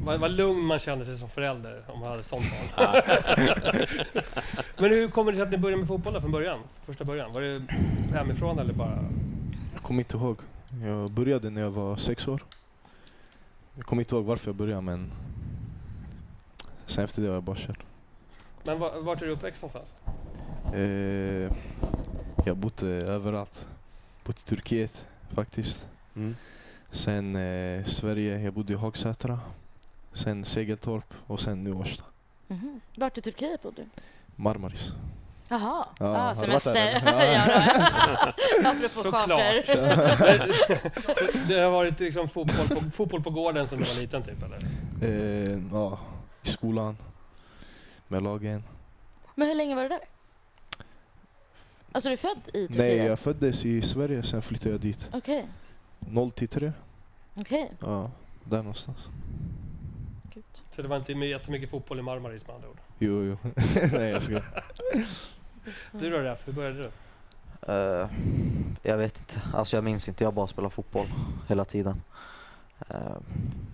Speaker 5: Vad, vad lugn man kände sig som förälder om man hade sånt barn. Men hur kommer det sig att ni började med fotboll då från början? Första början? Var det hemifrån eller bara?
Speaker 4: Jag kommer inte ihåg. Jag började när jag var sex år. Jag kommer inte ihåg varför jag började men sen efter det har jag bara kört.
Speaker 5: Men var, vart är du uppväxt någonstans?
Speaker 4: Eh, jag bodde överallt. Bodde i Turkiet faktiskt.
Speaker 2: Mm.
Speaker 4: Sen eh, Sverige, jag bodde i Hagsätra. Sen Segeltorp och sen nu Årsta.
Speaker 3: Mhm. Vart i Turkiet bodde du?
Speaker 4: Marmaris.
Speaker 3: Jaha,
Speaker 4: Ja,
Speaker 3: ah,
Speaker 4: har du varit där,
Speaker 3: semester.
Speaker 4: eller?
Speaker 3: Ja. då. Apropå
Speaker 5: Såklart.
Speaker 3: charter.
Speaker 5: Så det har varit liksom fotboll på, fotboll på gården sedan du var liten typ eller?
Speaker 4: Eh, ja, I skolan, med lagen.
Speaker 3: Men hur länge var du där? Alltså du är född i Turkiet?
Speaker 4: Nej, jag föddes i Sverige sen flyttade jag dit.
Speaker 3: Okej,
Speaker 4: 0 till 3.
Speaker 3: okej.
Speaker 4: Ja, där någonstans.
Speaker 3: Gud.
Speaker 5: Så det var inte jättemycket fotboll i Marmaris med andra ord.
Speaker 4: Jo, jo. Nej, jag skojar.
Speaker 5: Du då Raff, hur började du?
Speaker 1: eh, jag vet inte, alltså jag minns inte. Jag bara spelar fotboll hela tiden. Eh,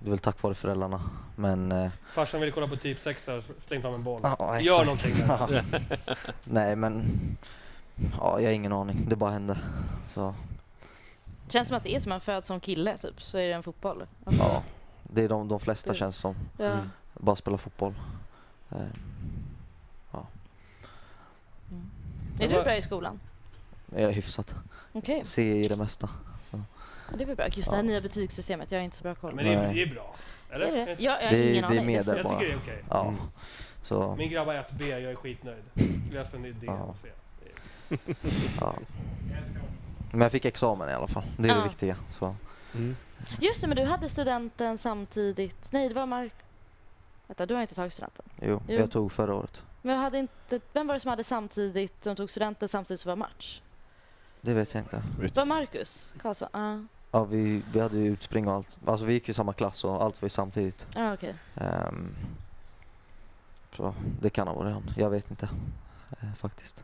Speaker 1: det är väl tack vare föräldrarna. Men, eh,
Speaker 5: Farsan ville kolla på typ 6 och slängde fram en boll.
Speaker 1: ja,
Speaker 5: Gör
Speaker 1: exakt.
Speaker 5: någonting där.
Speaker 1: Ja. Nej men, ja, jag har ingen aning. Det bara hände. Så,
Speaker 3: Känns som att det är som man föds som kille typ, så är det en fotboll. Alltså,
Speaker 1: ja. Det är de, de flesta känns som.
Speaker 3: ja.
Speaker 1: Bara spela fotboll. Eh,
Speaker 3: Är du bra i skolan?
Speaker 1: jag är hyfsat.
Speaker 3: Okej,
Speaker 1: Ser i det mesta.
Speaker 3: det är väl bra. Just det här nya betygssystemet, jag har inte så bra koll.
Speaker 5: Men det är,
Speaker 1: Nej.
Speaker 5: det är bra.
Speaker 3: är
Speaker 5: Eller?
Speaker 3: det? det? Jag, jag har
Speaker 1: Det-
Speaker 3: ingen
Speaker 1: det är
Speaker 3: aning.
Speaker 1: medel.
Speaker 3: så-
Speaker 5: Jag tycker det är okej.
Speaker 1: Ja. Mm. Så,
Speaker 5: Min grabb har 1B, jag är skitnöjd. Läste en ny D
Speaker 1: Ja.
Speaker 5: och C.
Speaker 1: ja. Men jag fick examen i alla fall. Det är
Speaker 3: Ja.
Speaker 1: det viktiga. Så.
Speaker 3: Just det, men du hade studenten samtidigt. Nej, det var Mark... Vänta, du har inte tagit studenten.
Speaker 1: Jo,
Speaker 3: Jo.
Speaker 1: jag tog förra året.
Speaker 3: Men hade inte... Vem var det som hade samtidigt, som tog studenten samtidigt som var match?
Speaker 1: Det vet jag inte.
Speaker 3: Det var Marcus Karlsson? Ja,
Speaker 1: Ja, vi, vi hade ju utspring och allt. Alltså vi gick ju i samma klass och allt var ju samtidigt.
Speaker 3: ah, okej.
Speaker 1: Ehm, så det kan ha varit han. Jag vet inte eh, faktiskt.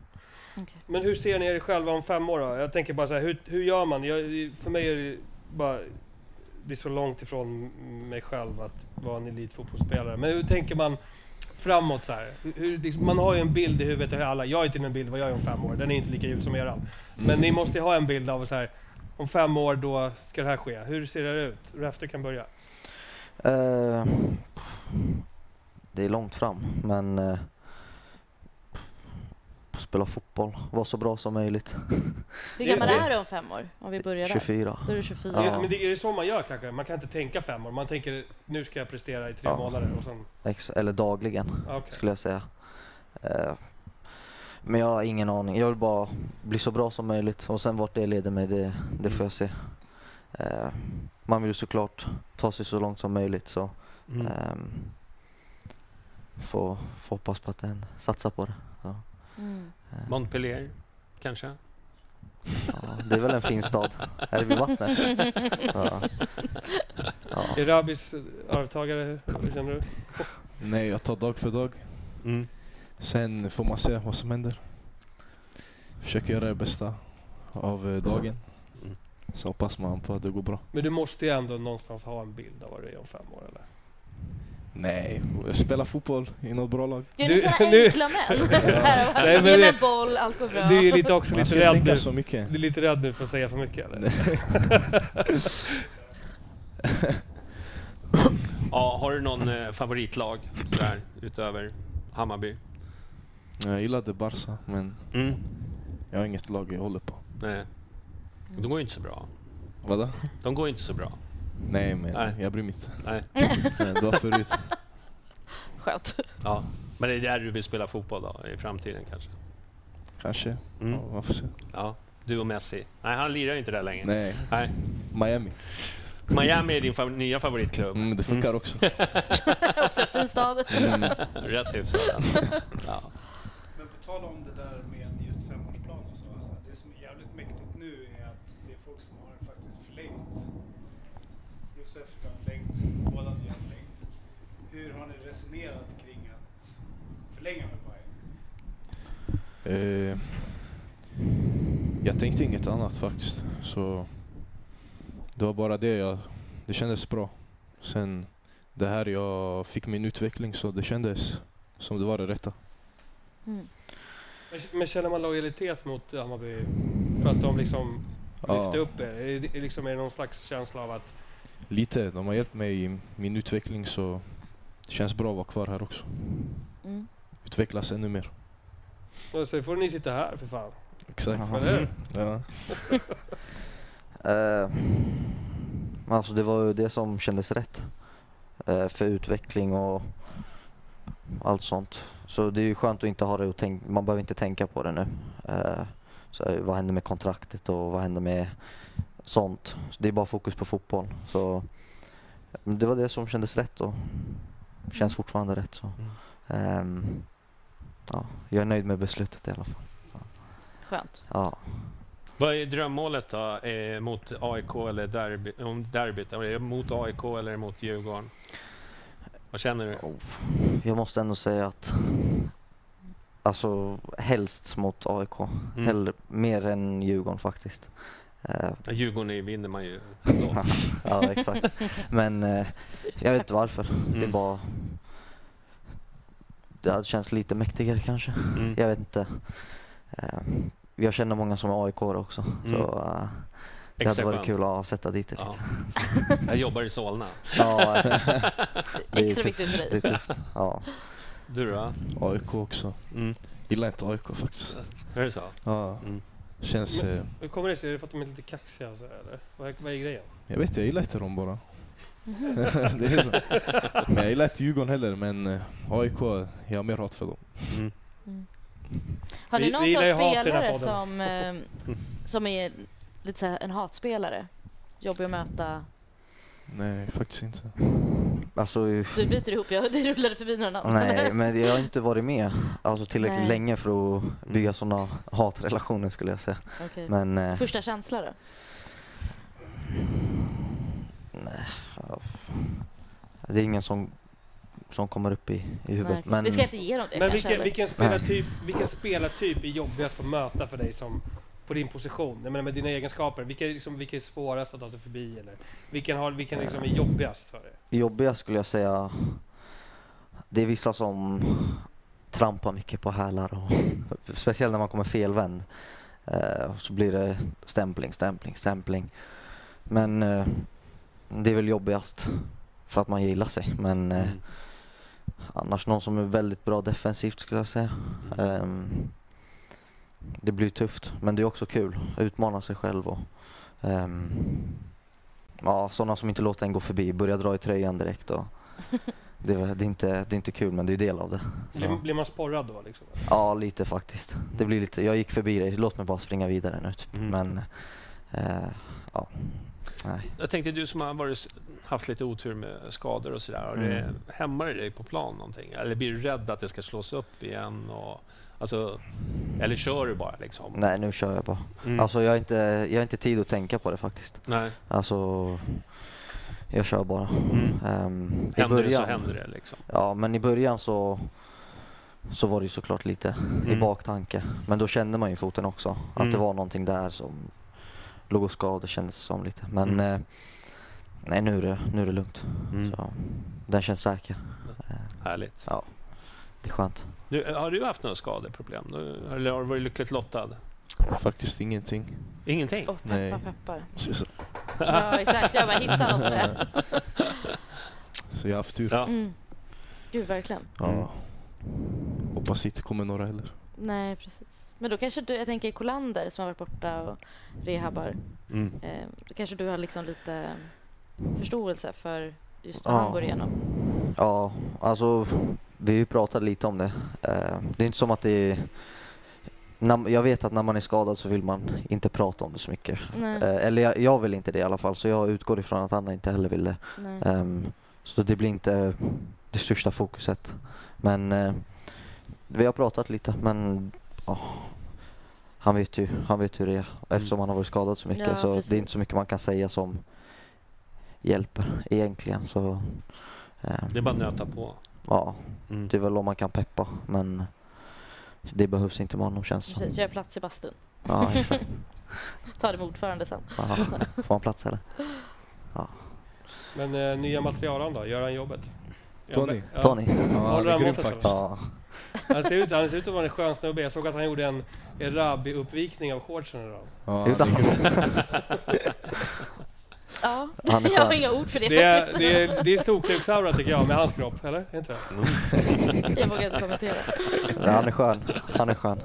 Speaker 5: Men hur ser ni er själva om fem år då? Jag tänker bara så här, hur, hur gör man? Jag, för mig är det bara... Det är så långt ifrån mig själv att vara en elitfotbollsspelare. Men hur tänker man framåt så här? Hur, hur, liksom, man har ju en bild i huvudet av hur alla... Jag har ju till och med en bild vad jag är om fem år. Den är inte lika ljus som eran.
Speaker 1: Mm.
Speaker 5: Men ni måste ju ha en bild av så här... Om fem år då ska det här ske. Hur ser det här ut? Raff, du kan börja.
Speaker 1: Eh, det är långt fram, men eh, spela fotboll, var så bra som möjligt.
Speaker 3: Hur gammal är du om fem år? Om vi börjar där.
Speaker 1: 24.
Speaker 3: Då är du 24.
Speaker 1: Ja.
Speaker 5: Men det, är det så man gör kanske? Man kan inte tänka fem år. Man tänker nu ska jag prestera i tre
Speaker 1: Ja.
Speaker 5: månader och sen...
Speaker 1: Ex- eller dagligen
Speaker 5: Ah, Okej.
Speaker 1: skulle jag säga. Eh, men jag har ingen aning. Jag vill bara bli så bra som möjligt och sen vart det leder mig, det, det får jag se. Eh, man vill ju såklart ta sig så långt som möjligt så
Speaker 2: Mm.
Speaker 1: ehm, får får hoppas på att den satsar på det. Så,
Speaker 3: Mm.
Speaker 1: eh,
Speaker 2: Montpellier, kanske?
Speaker 1: ja, det är väl en fin stad. Är det vid vattnet? Ja. Ja.
Speaker 5: Är Rabis arvtagare, hur känner du?
Speaker 4: Nej, jag tar dag för dag.
Speaker 2: Mm.
Speaker 4: Sen får man se vad som händer. Försöker göra det bästa av eh, dagen.
Speaker 2: Mm.
Speaker 4: Så hoppas man på att det går bra.
Speaker 5: Men du måste ju ändå någonstans ha en bild av vad du är om fem år eller?
Speaker 4: Nej, spela fotboll i något bra lag.
Speaker 3: Gör
Speaker 5: Du-
Speaker 3: ni såna
Speaker 5: nu-
Speaker 3: enkla män? så här,
Speaker 5: Nej, men
Speaker 3: ge mig
Speaker 5: det-
Speaker 3: en boll, allt går bra.
Speaker 5: Du är ju lite också
Speaker 4: Man
Speaker 5: lite
Speaker 4: ska
Speaker 5: rädd
Speaker 4: inte
Speaker 5: nu.
Speaker 4: tänka så mycket.
Speaker 5: Du är lite rädd nu för att säga för mycket eller?
Speaker 2: Ja, har du någon eh, favoritlag sådär, utöver Hammarby?
Speaker 4: Jag gillade Barca, men
Speaker 2: Mm.
Speaker 4: jag har inget lag jag håller på.
Speaker 2: Nej. De går ju inte så bra.
Speaker 4: Vadå?
Speaker 2: De går ju inte så bra.
Speaker 4: Nej, men
Speaker 2: Nej.
Speaker 4: jag bryr mig inte.
Speaker 2: Nej.
Speaker 4: Nej, Det var förut.
Speaker 3: Skönt.
Speaker 2: Ja. Men det är där du vill spela fotboll då, i framtiden kanske?
Speaker 4: Kanske.
Speaker 2: Mm.
Speaker 4: Ja, man får se.
Speaker 2: Ja. Du och Messi. Nej, han lirar ju inte där längre.
Speaker 4: Nej,
Speaker 2: Nej.
Speaker 4: Miami.
Speaker 2: Miami är din fav nya favoritklubb.
Speaker 4: Mm, det funkar också.
Speaker 3: också en fin stad.
Speaker 5: Mm.
Speaker 2: Rätt hyfsad. alltså. Ja.
Speaker 9: Men på tal om det där med just femårsplan och så. Alltså det som är jävligt mäktigt nu är att det är folk som har faktiskt förlängt. Josef, du har förlängt. Båda ni har förlängt. Hur har ni resonerat kring att förlänga med Bayern?
Speaker 4: Eh, jag tänkte inget annat faktiskt. Så det var bara det jag... Det kändes bra. Sen det här jag fick min utveckling så det kändes som det var det rätta.
Speaker 3: Mm.
Speaker 5: Men, men känner man lojalitet mot Hammarby för att de liksom
Speaker 4: Ja.
Speaker 5: lyfte upp er? Är det, är liksom, är det någon slags känsla av att
Speaker 4: Lite. De har hjälpt mig i min utveckling så det känns bra att vara kvar här också.
Speaker 3: Mm.
Speaker 4: Utvecklas ännu mer.
Speaker 5: "Ja, så får ni sitta här för fan?
Speaker 4: Exakt.
Speaker 5: Eller hur?
Speaker 4: Ja.
Speaker 1: Eh, alltså det var ju det som kändes rätt. Eh, för utveckling och allt sånt. Så det är ju skönt att inte ha det och tänk- man behöver inte tänka på det nu. Eh, så här, vad händer med kontraktet och vad händer med sånt. Så det är bara fokus på fotboll. Så men det var det som kändes rätt och känns fortfarande rätt. Så. Ehm, ja, jag är nöjd med beslutet i alla fall.
Speaker 3: Skönt.
Speaker 1: Ja.
Speaker 2: Vad är drömmålet då? Eh, mot AIK eller derby, om derbyt? Är det mot AIK eller mot Djurgården? Vad känner du?
Speaker 1: Oh, Jag måste ändå säga att Alltså helst mot AIK.
Speaker 2: Mm.
Speaker 1: Hellre, mer än Djurgården faktiskt. Eh,
Speaker 2: Ja, Djurgården är- vinner man ju ändå.
Speaker 1: ja exakt. Men eh, jag vet inte varför. Det
Speaker 2: Mm.
Speaker 1: är bara Det hade känts lite mäktigare kanske.
Speaker 2: Mm.
Speaker 1: Jag vet inte. Eh, jag känner många som är aik också.
Speaker 2: Mm.
Speaker 1: Så eh, det hade
Speaker 2: Extra
Speaker 1: varit
Speaker 2: skönt.
Speaker 1: kul att sätta dit det
Speaker 2: Ja.
Speaker 1: lite.
Speaker 2: Jag jobbar i Solna.
Speaker 1: Ja. det är
Speaker 3: Extra
Speaker 1: tufft.
Speaker 3: viktigt för
Speaker 1: Det är
Speaker 3: dig.
Speaker 1: tufft. Ja.
Speaker 2: Du då?
Speaker 4: AIK också.
Speaker 2: Mm.
Speaker 4: Gillar inte AIK faktiskt.
Speaker 2: Är det så?
Speaker 4: Ja.
Speaker 2: Mm.
Speaker 4: Känns... Eh,
Speaker 5: Hur kommer det sig? Är det för att de är lite kaxiga och så, eller? Vad är, vad är grejen?
Speaker 4: Jag vet, jag gillar inte dem bara. Mhm. det är så. Men jag gillar inte Djurgården heller, men eh, AIK, jag har mer hat för dem.
Speaker 2: Mm.
Speaker 3: Har ni
Speaker 5: Vi-
Speaker 3: någon
Speaker 5: vi
Speaker 3: sån
Speaker 5: gillar ju hat i den här
Speaker 3: spelare
Speaker 5: podden.
Speaker 3: som, eh, som är lite så här en hatspelare? Jobbig att möta.
Speaker 4: Nej, faktiskt inte.
Speaker 1: Alltså
Speaker 3: Du biter ihop, jag, det rullade förbi någon annan.
Speaker 1: Nej, men jag har inte varit med alltså tillräckligt
Speaker 3: Nej. Mm.
Speaker 1: länge för att bygga sådana hatrelationer skulle jag säga.
Speaker 3: Okej.
Speaker 1: Men eh,
Speaker 3: Första känsla då?
Speaker 1: det är ingen som, som kommer upp i, i huvudet.
Speaker 3: Nej.
Speaker 1: Men,
Speaker 3: Vi ska inte ge dem det
Speaker 5: Men
Speaker 3: kanske,
Speaker 5: vilken,
Speaker 3: eller?
Speaker 5: vilken, spelartyp, vilken spelartyp är jobbigast att möta för dig som på din position? Jag menar med dina egenskaper. Vilka, är liksom, vilka är svårast att ta sig förbi? Eller? Vilken, har, vilken liksom är jobbigast för dig?
Speaker 1: jobbiga skulle jag säga, det är vissa som trampar mycket på hälar och speciellt när man kommer felvänd. Eh, och så blir det stämpling, stämpling, stämpling. Men eh, det är väl jobbigast för att man gillar sig. Men eh,
Speaker 2: Mm.
Speaker 1: Annars någon som är väldigt bra defensivt skulle jag säga. Ehm, det blir tufft, men det är också kul. Utmana sig själv och ehm, ja, sådana som inte låter en gå förbi, börja dra i tröjan direkt. Och det, är, väl- det, är inte, det är inte kul, men det är del av det.
Speaker 5: Blir,
Speaker 1: Så,
Speaker 5: blir man sporrad då? Liksom?
Speaker 1: ja, lite faktiskt. Det blir lite, jag gick förbi dig, låt mig bara springa vidare nu. Typ.
Speaker 2: Mm.
Speaker 1: Men eh, ja, Nej.
Speaker 2: Jag tänkte du som har varit, haft lite otur med skador och sådär. Har det
Speaker 1: Mm.
Speaker 2: hämmar det dig på plan någonting? Eller blir du rädd att det ska slås upp igen? Och, alltså, eller kör du bara liksom?
Speaker 1: Nej, nu kör jag bara.
Speaker 2: Mm.
Speaker 1: Alltså jag har, inte, jag har inte tid att tänka på det faktiskt.
Speaker 2: Nej.
Speaker 1: Alltså, jag kör bara.
Speaker 2: Mm.
Speaker 1: Ehm,
Speaker 2: Händer det så händer det liksom.
Speaker 1: Ja, men i början så, så var det ju såklart lite i
Speaker 2: Mm.
Speaker 1: baktanke. Men då kände man ju i foten också att det
Speaker 2: Mm.
Speaker 1: var någonting där som låg och skavde kändes det som lite. Men
Speaker 2: Mm.
Speaker 1: eh, nej, nu är det, nu är det lugnt.
Speaker 2: Mm.
Speaker 1: Så, den känns säker. Eh,
Speaker 2: Härligt.
Speaker 1: ja, det är skönt.
Speaker 2: Du, har du haft några skadeproblem? Du, eller har du varit lyckligt lottad?
Speaker 4: Faktiskt ingenting.
Speaker 2: Ingenting?
Speaker 3: Och
Speaker 4: Nej.
Speaker 3: peppar, peppar.
Speaker 4: Så, så-
Speaker 3: Ja, exakt. Jag bara hittar något för det.
Speaker 4: så jag har haft tur.
Speaker 2: Ja.
Speaker 3: Mm. Gud, verkligen.
Speaker 4: Ja. Hoppas inte kommer några heller.
Speaker 3: Nej, precis. Men då kanske du, jag tänker Kolander som har varit borta och rehabbar.
Speaker 2: Mm.
Speaker 3: Eh, då kanske du har liksom lite förståelse för just vad
Speaker 1: Ja.
Speaker 3: han går igenom.
Speaker 1: Ja, alltså vi har ju pratat lite om det. Eh, det är inte som att det är... När, jag vet att när man är skadad så vill man inte prata om det så mycket.
Speaker 3: Nej,
Speaker 1: Eh, eller jag, jag vill inte det i alla fall, så jag utgår ifrån att Anna inte heller vill det.
Speaker 3: nej.
Speaker 1: Ehm, så det blir inte det största fokuset. Men eh, vi har pratat lite, men ja, han, vet ju, han vet hur det är. Eftersom han har varit skadad så mycket
Speaker 3: Ja,
Speaker 1: så det
Speaker 3: precis.
Speaker 1: är inte så mycket man kan säga som hjälper egentligen. Så, ehm,
Speaker 2: Det är bara att nöta på.
Speaker 1: Ja,
Speaker 2: Mm.
Speaker 1: det är väl om man kan peppa, men det behövs inte med honom känns det
Speaker 3: Precis,
Speaker 1: som.
Speaker 3: gör plats i bastun.
Speaker 1: Ja, exakt.
Speaker 3: Ta det med ordförande sen.
Speaker 1: Ja, får han plats eller?
Speaker 5: Men eh, nya materialen då? Gör han jobbet?
Speaker 4: Tony.
Speaker 5: Ja.
Speaker 1: Tony?
Speaker 4: Ja, han
Speaker 5: Håller
Speaker 4: är
Speaker 5: han
Speaker 4: grym
Speaker 5: måttet,
Speaker 4: faktiskt.
Speaker 1: Ja.
Speaker 5: Han ser ut, han ser ut att vara en skön snubbe. Jag såg att han gjorde en en rabbi-uppvikning av shortsen idag.
Speaker 4: Ja,
Speaker 1: Gjorde
Speaker 4: han är grym.
Speaker 3: Ja,
Speaker 1: Han är
Speaker 3: jag har
Speaker 1: skön.
Speaker 3: inga ord för det,
Speaker 5: Det är,
Speaker 3: faktiskt.
Speaker 5: det är, det är storkuksaura tycker jag med hans kropp, eller? Är Inte? det?
Speaker 3: Jag vågar inte kommentera.
Speaker 1: Ja, han är skön. Han är skön.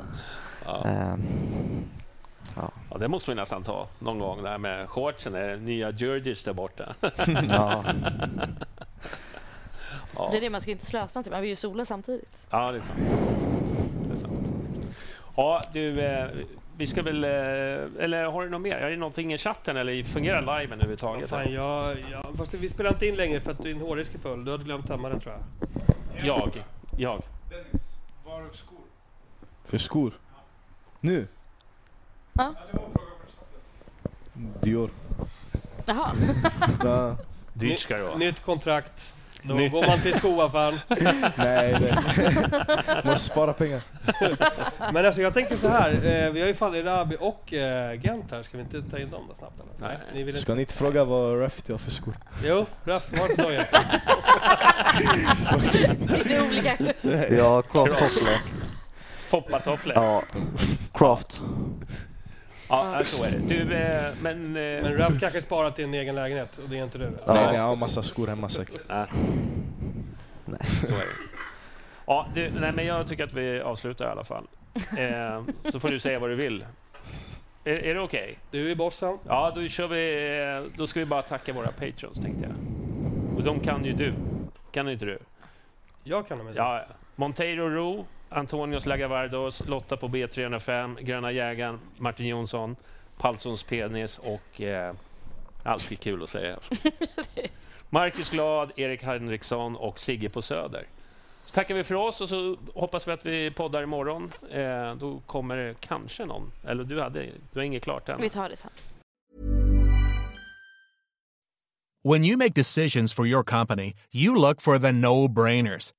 Speaker 2: Ja.
Speaker 1: Ehm,
Speaker 2: Ja, det måste vi nästan ta någon gång, det här med shortsen. Det är nya Djurdjic där borta.
Speaker 1: ja.
Speaker 2: Ja.
Speaker 3: Det är det, man ska ju inte slösa någonting. Man vill ju sola samtidigt.
Speaker 2: Ja, det är sant. Det är sant. Det är sant. Ja, du, eh, vi ska väl... Eh, eller har du något mer? Är det någonting i chatten eller fungerar liven
Speaker 5: Vad
Speaker 2: överhuvudtaget?
Speaker 5: Fan, jag, jag, fast vi spelar inte in längre för att din hårdisk är full. Du hade glömt tömma den tror jag.
Speaker 2: Jag. Jag.
Speaker 9: Dennis, var är skor?
Speaker 4: För skor. Nu.
Speaker 9: Ja, det var en fråga från chatten.
Speaker 4: Dior.
Speaker 3: Jaha.
Speaker 4: Ja.
Speaker 2: Dyrt ska det vara.
Speaker 5: Nytt kontrakt. Då
Speaker 2: Nytt.
Speaker 5: går man till skoaffären.
Speaker 4: Nej, det. Måste spara pengar.
Speaker 5: Men alltså jag tänker så här. Eh, vi har ju fallit Rabi och eh, Gent här. Ska vi inte ta in dem då snabbt eller?
Speaker 2: Nej.
Speaker 5: Ni vill inte?
Speaker 4: Ska ni inte fråga vad Rafit har för skor?
Speaker 5: Jo, Raff, var inte nöjd.
Speaker 3: Det är olika.
Speaker 1: ja, craft tofflor.
Speaker 2: Foppatofflor. Ja.
Speaker 1: Ja. Craft.
Speaker 2: ja, så är det. Du, eh, men... Eh,
Speaker 5: Men Raff kanske sparar till en egen lägenhet och det är inte du. eller?
Speaker 1: Ja.
Speaker 4: Nej, nej, jag har massa skor hemma säkert.
Speaker 2: Nej. Så är det. Ja, du, nej, men jag tycker att vi avslutar i alla fall. Eh, så får du säga vad du vill. Är, är det okej?
Speaker 5: Du är bossen.
Speaker 2: Ja, då kör vi... eh, Då ska vi bara tacka våra patrons, tänkte jag. Och de kan ju du. Kan inte du?
Speaker 5: Jag kan dem inte.
Speaker 2: Ja, ja. Monteiro Ro, Antonios Lagavardos, Lotta på B305, Gröna Jägaren, Martin Jonsson, Palsons Penis och... Eh, alltid kul att säga. Marcus Glad, Erik Henriksson och Sigge på Söder. Så tackar vi för oss och så hoppas vi att vi poddar imorgon. Eh, då kommer det kanske någon. Eller du, hade, du har inget klart än.
Speaker 3: Vi tar det sen.
Speaker 10: When you make decisions for your company, you look for the no brainers.